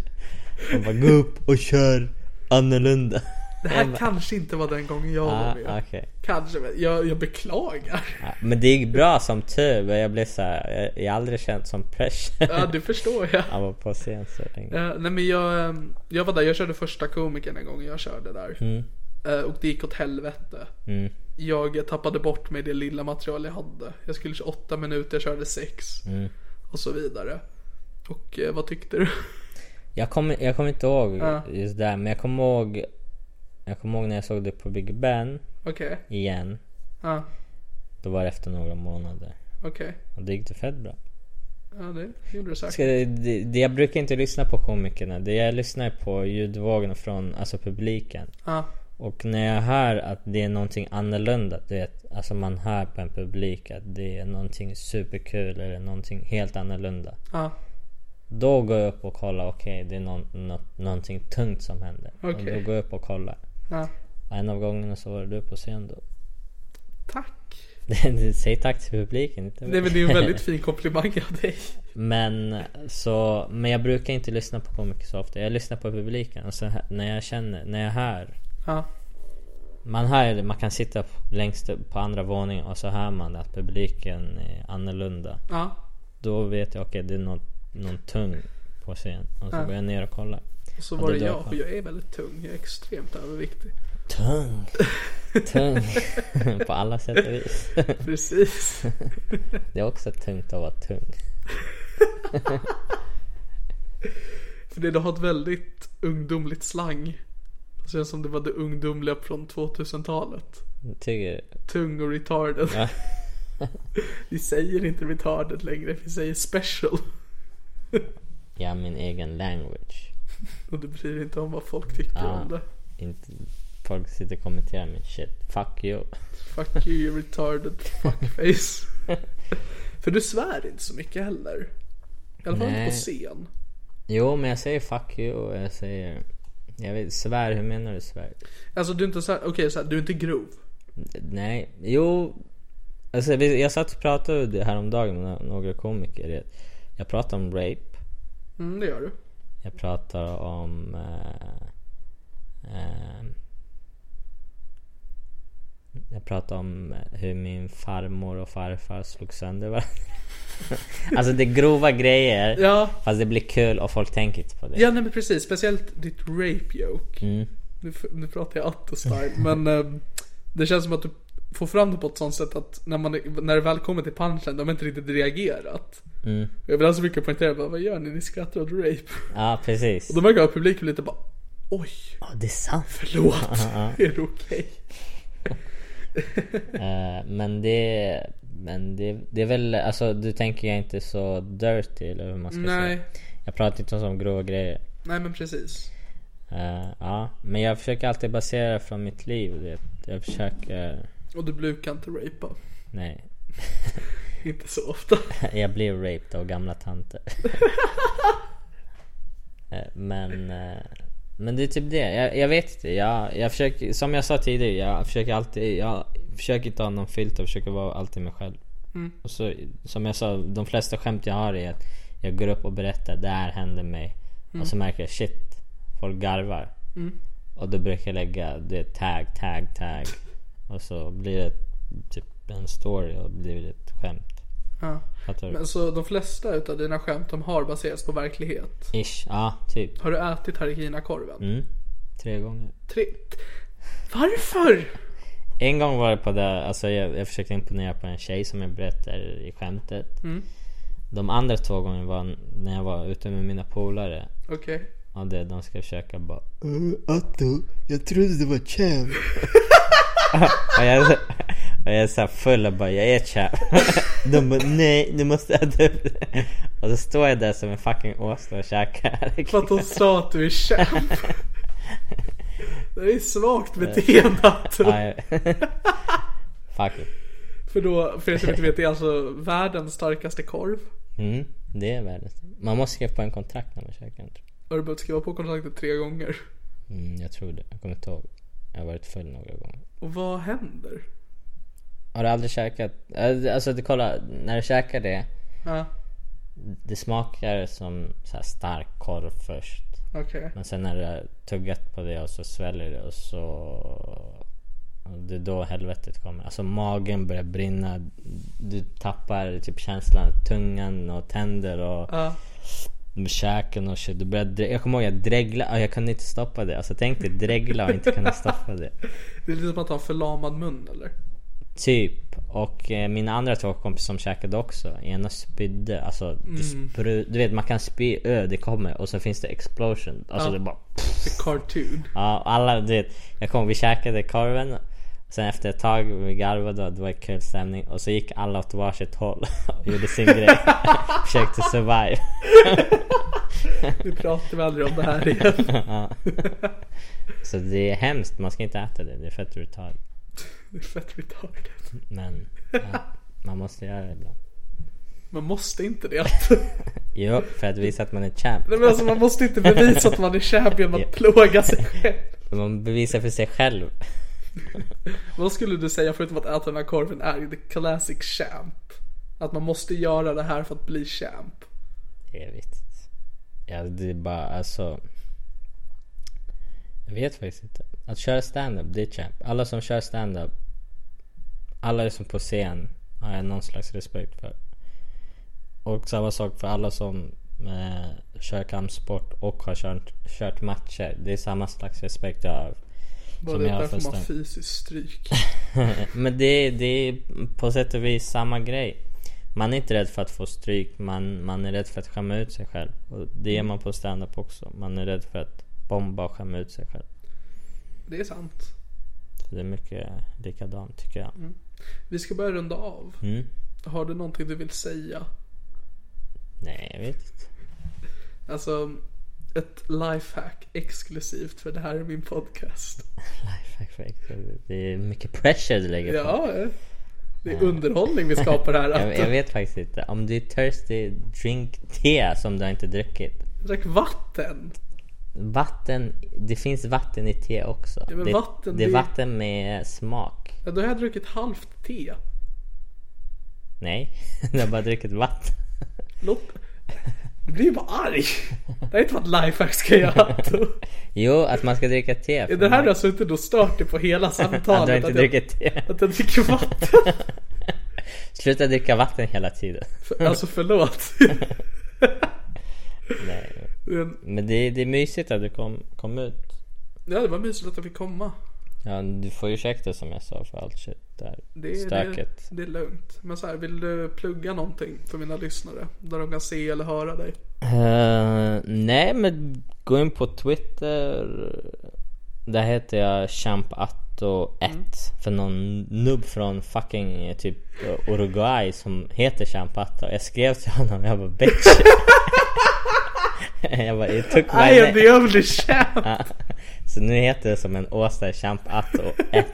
B: Jag bara, gå upp och kör
A: *laughs*
B: annorlunda
A: Det här kanske inte var den gången jag
B: ah,
A: var med.
B: okej.
A: Kanske, men jag, jag beklagar.
B: Ja, Men det gick bra som tur, men jag blev såhär, jag, jag har aldrig känt som press
A: Ja,
B: *laughs*
A: det förstår jag.
B: Att vara på scen så länge
A: Eh, nej men jag, ehm, jag var där, jag körde första komikern en gång jag körde där.
B: Mm.
A: Eh, och det gick åt helvete. Jag tappade bort mig det lilla material jag hade. Jag skulle 28 minuter, jag körde 6.
B: Mm.
A: Och så vidare. Och eh, vad tyckte du? *laughs*
B: Jag kommer, jag kommer inte ihåg just det, men jag kommer ihåg Jag kommer ihåg när jag såg det på Big Ben
A: Okej,
B: igen
A: ja,
B: Då var det efter några månader
A: okej.
B: och det gick det fett bra
A: Ja det gjorde du
B: Ska,
A: säkert.
B: det, det, jag brukar inte lyssna på komikerna. Det jag lyssnar på ljudvågorna från alltså publiken.
A: Ja,
B: Och när jag hör att det är någonting annorlunda, du vet, alltså man hör på en publik att det är någonting superkul eller någonting helt annorlunda.
A: ja,
B: Då går jag upp och kollar, okej det är någon, nå- någonting tungt som händer. Och
A: Okej.
B: då går jag upp och kollar.
A: ja.
B: Och en av gångerna så var du på scen då. *laughs*
A: Tack.
B: Säg tack till publiken, inte
A: Nej men det är en
B: *laughs*
A: väldigt fin komplimang av dig.
B: Men, så, men jag brukar inte lyssna på komiker så ofta. Jag lyssnar på publiken och så hä- när jag känner, när jag hör.
A: Ja,
B: Man hör ju det, man kan sitta p- längst upp på andra våningen och så hör man att publiken är annorlunda.
A: ja,
B: Då vet jag, okej det är någon, någon tung på scen. Och så går jag ner och kollar.
A: och så
B: Ja,
A: var
B: det
A: det
B: är
A: jag.
B: därför.
A: Och jag är väldigt tung, jag är extremt överviktig.
B: Tung! tung! *laughs* på alla sätt och vis.
A: Precis.
B: Det är också tungt att vara tung.
A: För det, du har ett väldigt ungdomligt slang. Det känns som det var det ungdomliga från 2000-talet.
B: Tycker
A: Tung och retarded. *laughs* Vi säger inte retarded längre, vi säger special.
B: Jag har min egen language.
A: Och du bryr dig inte om vad folk tycker
B: Ja.
A: om det.
B: Inte, folk sitter och kommenterar min shit. Fuck you.
A: Fuck you, you retarded fuckface. *laughs* För du svär inte så mycket heller. I alla fall inte
B: Nej.
A: på scen.
B: Jo, men jag säger fuck you och jag säger... Jag vet, svär, hur menar du svär?
A: Alltså du är inte så här, okej så här, du är inte grov.
B: Nej, jo. Alltså, vi- jag satt och pratade det häromdagen med no- några komiker. Jag pratade om rape.
A: Mm, det gör du.
B: Jag pratar om... Eh, ehm, jag pratar om hur min farmor och farfar slog sönder varandra. *laughs* alltså det är grova grejer.
A: Ja,
B: Fast det blir kul och folk tänker inte på det.
A: ja nej men precis. Speciellt ditt rape joke.
B: Mm.
A: Nu, f- nu pratar jag atto-style, *laughs* men ehm, det känns som att du får fram det på ett sånt sätt att när, man, är- när det väl kommer till punchen, de har inte riktigt reagerat.
B: Mm.
A: Jag vill alltså mycket poängtera, bara, vad gör ni? Ni skrattar åt rape.
B: Ja, precis.
A: Och då märker jag att publiken blir lite bara, oj,
B: Ja, det är sant. *laughs*
A: förlåt, *laughs* är det okej?
B: Eh, men det... Men det, det är väl... Alltså du tänker jag inte så dirty eller hur man ska
A: Nej,
B: säga. Jag pratar inte om sådana grova grejer.
A: nej men precis.
B: Eh, ja, men jag försöker alltid basera det från mitt liv. Det. Jag försöker...
A: Och du brukar inte rapea.
B: Nej.
A: Inte så
B: *laughs*
A: ofta.
B: Jag blir raped av gamla tanter. *laughs* Eh, men... eh, Men det är typ det. Jag, jag vet inte. Jag, jag försöker, som jag sa tidigare, jag försöker alltid... Jag försöker inte ha någon filt och försöker vara alltid mig själv. Och så, som jag sa, de flesta skämt jag har är att jag går upp och berättar det här hände mig. Och så märker jag shit, folk garvar. Och då brukar jag lägga det tag, tag, tag. Och så blir det typ en story och blir det ett skämt.
A: Ja.
B: Fattar du?
A: Men så de flesta utav dina skämt de har baserats på verklighet.
B: Ish, ja typ.
A: Har du ätit Harikina-korven?
B: Mm. Tre gånger.
A: Tre... Varför?
B: En gång var det på det, alltså jag, jag försökte imponera på en tjej som jag berättade i skämtet. De andra två gångerna var n- när jag var ute med mina polare.
A: Okej.
B: Och det, de ska försöka bara...
C: Uh, Otto, jag trodde det var Cham.
B: *laughs* Och jag, och jag är såhär full och bara jag är chap. *laughs* De bara nej, du måste äta upp det. Och så står jag där som en fucking åsna och käkar.
A: För att de sa att du är *laughs* kämp. Det är svagt beteende Anton.
B: *laughs* Ja, jag- *laughs* Fuck it.
A: För då, för er som inte vet, det är alltså världens starkaste korv.
B: Mm, det är världens. Man måste skriva på en kontrakt när man käkar den, tror
A: Har du behövt skriva på kontraktet tre gånger?
B: jag. Mm, jag tror det. Jag kommer inte ihåg. Jag har varit full några gånger.
A: Och vad händer?
B: Har du aldrig käkat? eh, Alltså du, kolla, när du käkar det.
A: Ja,
B: Det smakar som så här stark korv först.
A: okej.
B: Men sen när du har tuggat på det och så sväljer det och så... och Det är då helvetet kommer. Alltså magen börjar brinna. Du tappar typ känslan. Tungan och tänder och
A: Ja.
B: käken och shit. Du börjar dre- jag kommer ihåg jag dreglade. Jag kunde inte stoppa det. Alltså tänk dig dregla och inte kunna stoppa det.
A: Det är lite som att ha en förlamad mun eller?
B: Typ. Och eh, mina andra två kompisar som käkade också. Ena spydde. Alltså du,
A: Mm.
B: spru- du vet man kan spy ö, det kommer. Och så finns det explosion. Alltså
A: Ja.
B: det bara...
A: The Typ cartoon.
B: Ja, alla du vet. Jag kom, vi käkade korven. Sen efter ett tag, vi garvade och det var kul stämning. Och så gick alla åt varsitt håll *laughs* och gjorde sin grej. *laughs* Försökte survive.
A: Nu pratar vi aldrig om det här igen.
B: Så det är hemskt, man ska inte äta det. Det är fett retard.
A: Det är fett retarded.
B: Men ja, man måste göra det ibland.
A: Man måste inte det. *laughs*
B: Jo, för att visa att man är champ.
A: Nej, men alltså, man måste inte bevisa att man är champ genom att plåga sig själv.
B: Man bevisar för sig själv.
A: Vad skulle du säga förutom att äta den här korven är the classic champ? Att man måste göra det här för att bli champ.
B: Evigt. Ja, det är bara alltså... Jag vet faktiskt inte. Att köra stand-up, det är champ. Alla som kör stand-up, alla som är på scen har jag någon slags respekt för. Och samma sak för alla som eh, kör kampsport och har kört, kört matcher. Det är samma slags respekt jag har.
A: Bara
B: Som
A: det
B: jag har
A: därför
B: förstått.
A: man fysiskt stryk.
B: Men det, det är på sätt och vis samma grej. Man är inte rädd för att få stryk, man, man är rädd för att skämma ut sig själv. Och det är man på stand-up också. Man är rädd för att bomba och skämma ut sig själv.
A: Det är sant. Mm.
B: Så det är mycket likadant tycker jag.
A: Vi ska börja runda av.
B: Mm.
A: Har du någonting du vill säga?
B: Nej, jag vet inte.
A: Alltså, ett lifehack exklusivt för det här är min podcast.
B: Lifehack för äkta- Det är mycket pressure du lägger på.
A: Ja, eh, det är underhållning vi skapar här.
B: *laughs* Jag, jag
A: Anton.
B: vet faktiskt inte. Om du är thirsty, drink te som du inte har druckit.
A: eh, Drack vatten.
B: Vatten, det finns vatten i te också.
A: Ja, men
B: det,
A: vatten,
B: det är
A: det-
B: vatten med smak.
A: Ja, då har jag druckit halvt te.
B: Nej, *laughs* du har bara druckit vatten. *laughs*
A: Låt... Du blir ju bara arg. Det här är inte vad ett lifehack ska göra.
B: *laughs*
A: Anton.
B: Jo, att man ska dricka te.
A: Är
B: för
A: Det här alltså
B: man-
A: har jag suttit och stört dig på
B: *laughs*
A: hela samtalet.
B: Att du inte
A: jag-
B: druckit te. *laughs*
A: Att jag dricker vatten. *laughs*
B: Sluta dricka vatten hela tiden.
A: Alltså förlåt. *laughs*
B: Nej.
A: Men,
B: Men det, det är mysigt att du kom, kom ut.
A: Ja, det var mysigt att jag fick komma.
B: Ja, du får ursäkta som jag sa för allt shit där.
A: Det är, det,
B: Stöket.
A: det är lugnt. Men så här, vill du plugga någonting för mina lyssnare? Där de kan se eller höra dig?
B: Eh, nej, men gå in på Twitter. Där heter jag champatto1.
A: Mm.
B: För någon nubb från fucking eh, typ eh, Uruguay som heter champatto. Jag skrev till honom, jag
A: *laughs*
B: bara bitch. *laughs* jag bara, you took my
A: I am
B: name.
A: the only
B: *laughs*
A: champ!
B: Så nu heter det som en Åsa champatto1.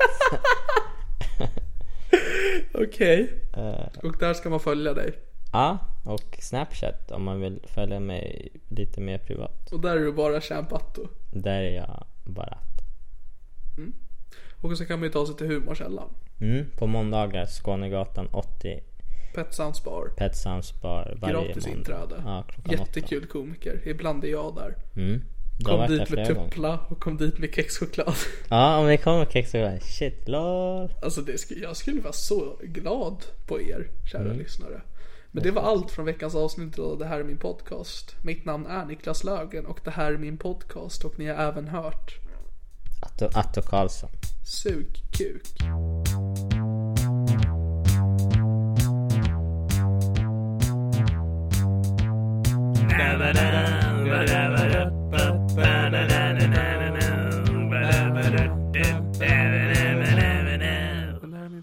A: Okej.
B: Eh.
A: Och där ska man följa dig.
B: Ja, och Snapchat om man vill följa mig lite mer privat.
A: Och där är du bara Champatto.
B: Där är jag bara.
A: Och så kan man ju ta sig till humorkällan.
B: Mm, på måndagar Skånegatan 80
A: Pet Sounds Bar.
B: Pet Sounds Bar varje
A: Gratis
B: måndag.
A: inträde.
B: Ja, klockan
A: Jättekul komiker. Ibland är jag där.
B: åtta.
A: Kom dit med tuppla och kom dit med kexchoklad. *laughs*
B: Ja, om ni kommer med kex så bara shit lol.
A: Alltså det skulle, jag skulle vara så glad på er, kära lyssnare. Men det var allt från veckans avsnitt av Det här är min podcast. Mitt namn är Niklas Lögen och det här är min podcast och ni har även hört
B: Atto, Atto Karlsson.
A: Sug kuk. Det här är min